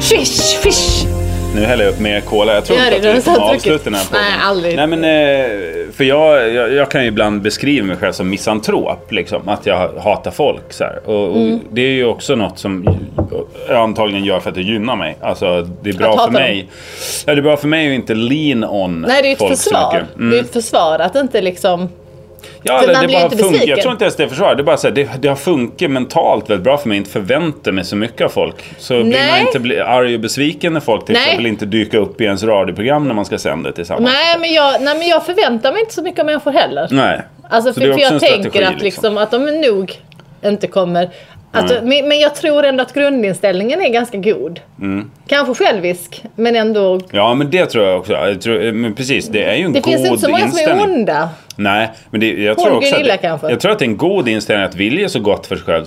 Speaker 2: Fish, fish!
Speaker 1: Nu häller jag upp mer cola. Jag tror
Speaker 2: Gör
Speaker 1: inte
Speaker 2: det,
Speaker 1: att
Speaker 2: det
Speaker 1: vi
Speaker 2: var så
Speaker 1: kommer
Speaker 2: tråkigt.
Speaker 1: avsluta den här podden.
Speaker 2: Nej, aldrig.
Speaker 1: Nej, men, eh, för jag, jag, jag kan ju ibland beskriva mig själv som misantrop. Liksom, att jag hatar folk. Så här. Och, och
Speaker 2: Mm.
Speaker 1: Det är ju också något som jag antagligen gör för att det gynnar mig. Alltså, det är
Speaker 2: Att
Speaker 1: bra
Speaker 2: hata
Speaker 1: för mig. Ja, det är bra för mig att inte lean on
Speaker 2: Nej, det är ju ett
Speaker 1: folk så
Speaker 2: försvar.
Speaker 1: mycket. Mm.
Speaker 2: Det är ett försvar att inte liksom...
Speaker 1: Ja,
Speaker 2: För
Speaker 1: eller
Speaker 2: man
Speaker 1: det
Speaker 2: blir ju
Speaker 1: bara
Speaker 2: inte
Speaker 1: funkar. Jag
Speaker 2: besviken.
Speaker 1: tror inte ens det är försvar. Det är bara så här, det, det har funkat mentalt väldigt bra för mig. Inte förvänta mig så mycket av folk. Så blir man
Speaker 2: Nej.
Speaker 1: inte bli, arg och besviken när folk till
Speaker 2: Nej.
Speaker 1: exempel inte dyker upp i ens radioprogram när man ska sända tillsammans.
Speaker 2: Nej men, jag, nej, men jag förväntar mig inte så mycket av människor heller.
Speaker 1: Nej.
Speaker 2: Alltså,
Speaker 1: Så
Speaker 2: för,
Speaker 1: det är
Speaker 2: för
Speaker 1: också en
Speaker 2: jag
Speaker 1: strategi,
Speaker 2: tänker att,
Speaker 1: liksom. Mm.
Speaker 2: liksom, att de nog inte kommer... Att, men, men jag tror ändå att grundinställningen är ganska god.
Speaker 1: Mm.
Speaker 2: Kanske självisk, men ändå...
Speaker 1: Ja, men det tror jag också. Jag tror, men precis, det är ju en
Speaker 2: Det
Speaker 1: god
Speaker 2: finns inte så många som är
Speaker 1: inställning.
Speaker 2: onda.
Speaker 1: Nej, men det, jag,
Speaker 2: Hon
Speaker 1: tror också
Speaker 2: Gunilla
Speaker 1: att,
Speaker 2: kanske.
Speaker 1: jag tror att det är en god inställning att vilja så gott för sig själv,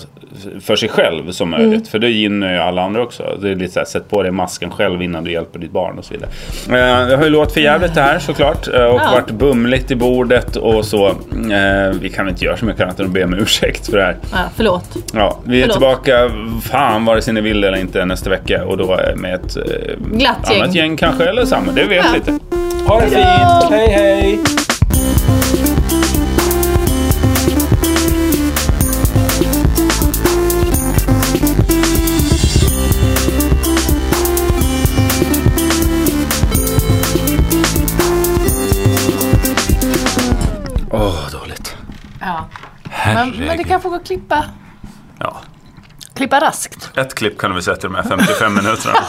Speaker 1: för sig själv som
Speaker 2: Mm.
Speaker 1: möjligt. För det gynnar ju alla andra också. Det är lite så här, sätt på dig masken själv innan du hjälper ditt barn och så vidare. Eh, det har ju låtit för jävligt det här såklart. eh, och
Speaker 2: Ja.
Speaker 1: varit bumligt i bordet och så. Eh, vi kan inte göra så mycket annat än att be om ursäkt för det här.
Speaker 2: Ja, förlåt.
Speaker 1: Ja, vi är
Speaker 2: Förlåt.
Speaker 1: tillbaka, fan vare sig ni vill eller inte, nästa vecka. Och då eh, med ett eh,
Speaker 2: Glatt gäng.
Speaker 1: annat gäng kanske, eller samma. Det vet
Speaker 2: Ja.
Speaker 1: vi inte. Ha det
Speaker 2: Hejdå!
Speaker 1: fint, hej hej! Åh, dåligt.
Speaker 2: Ja. Men,
Speaker 1: Herregud.
Speaker 2: men det kanske går att klippa,
Speaker 1: Ja.
Speaker 2: klippa raskt.
Speaker 1: Ett klipp kan vi sätta de här 55 minuterna.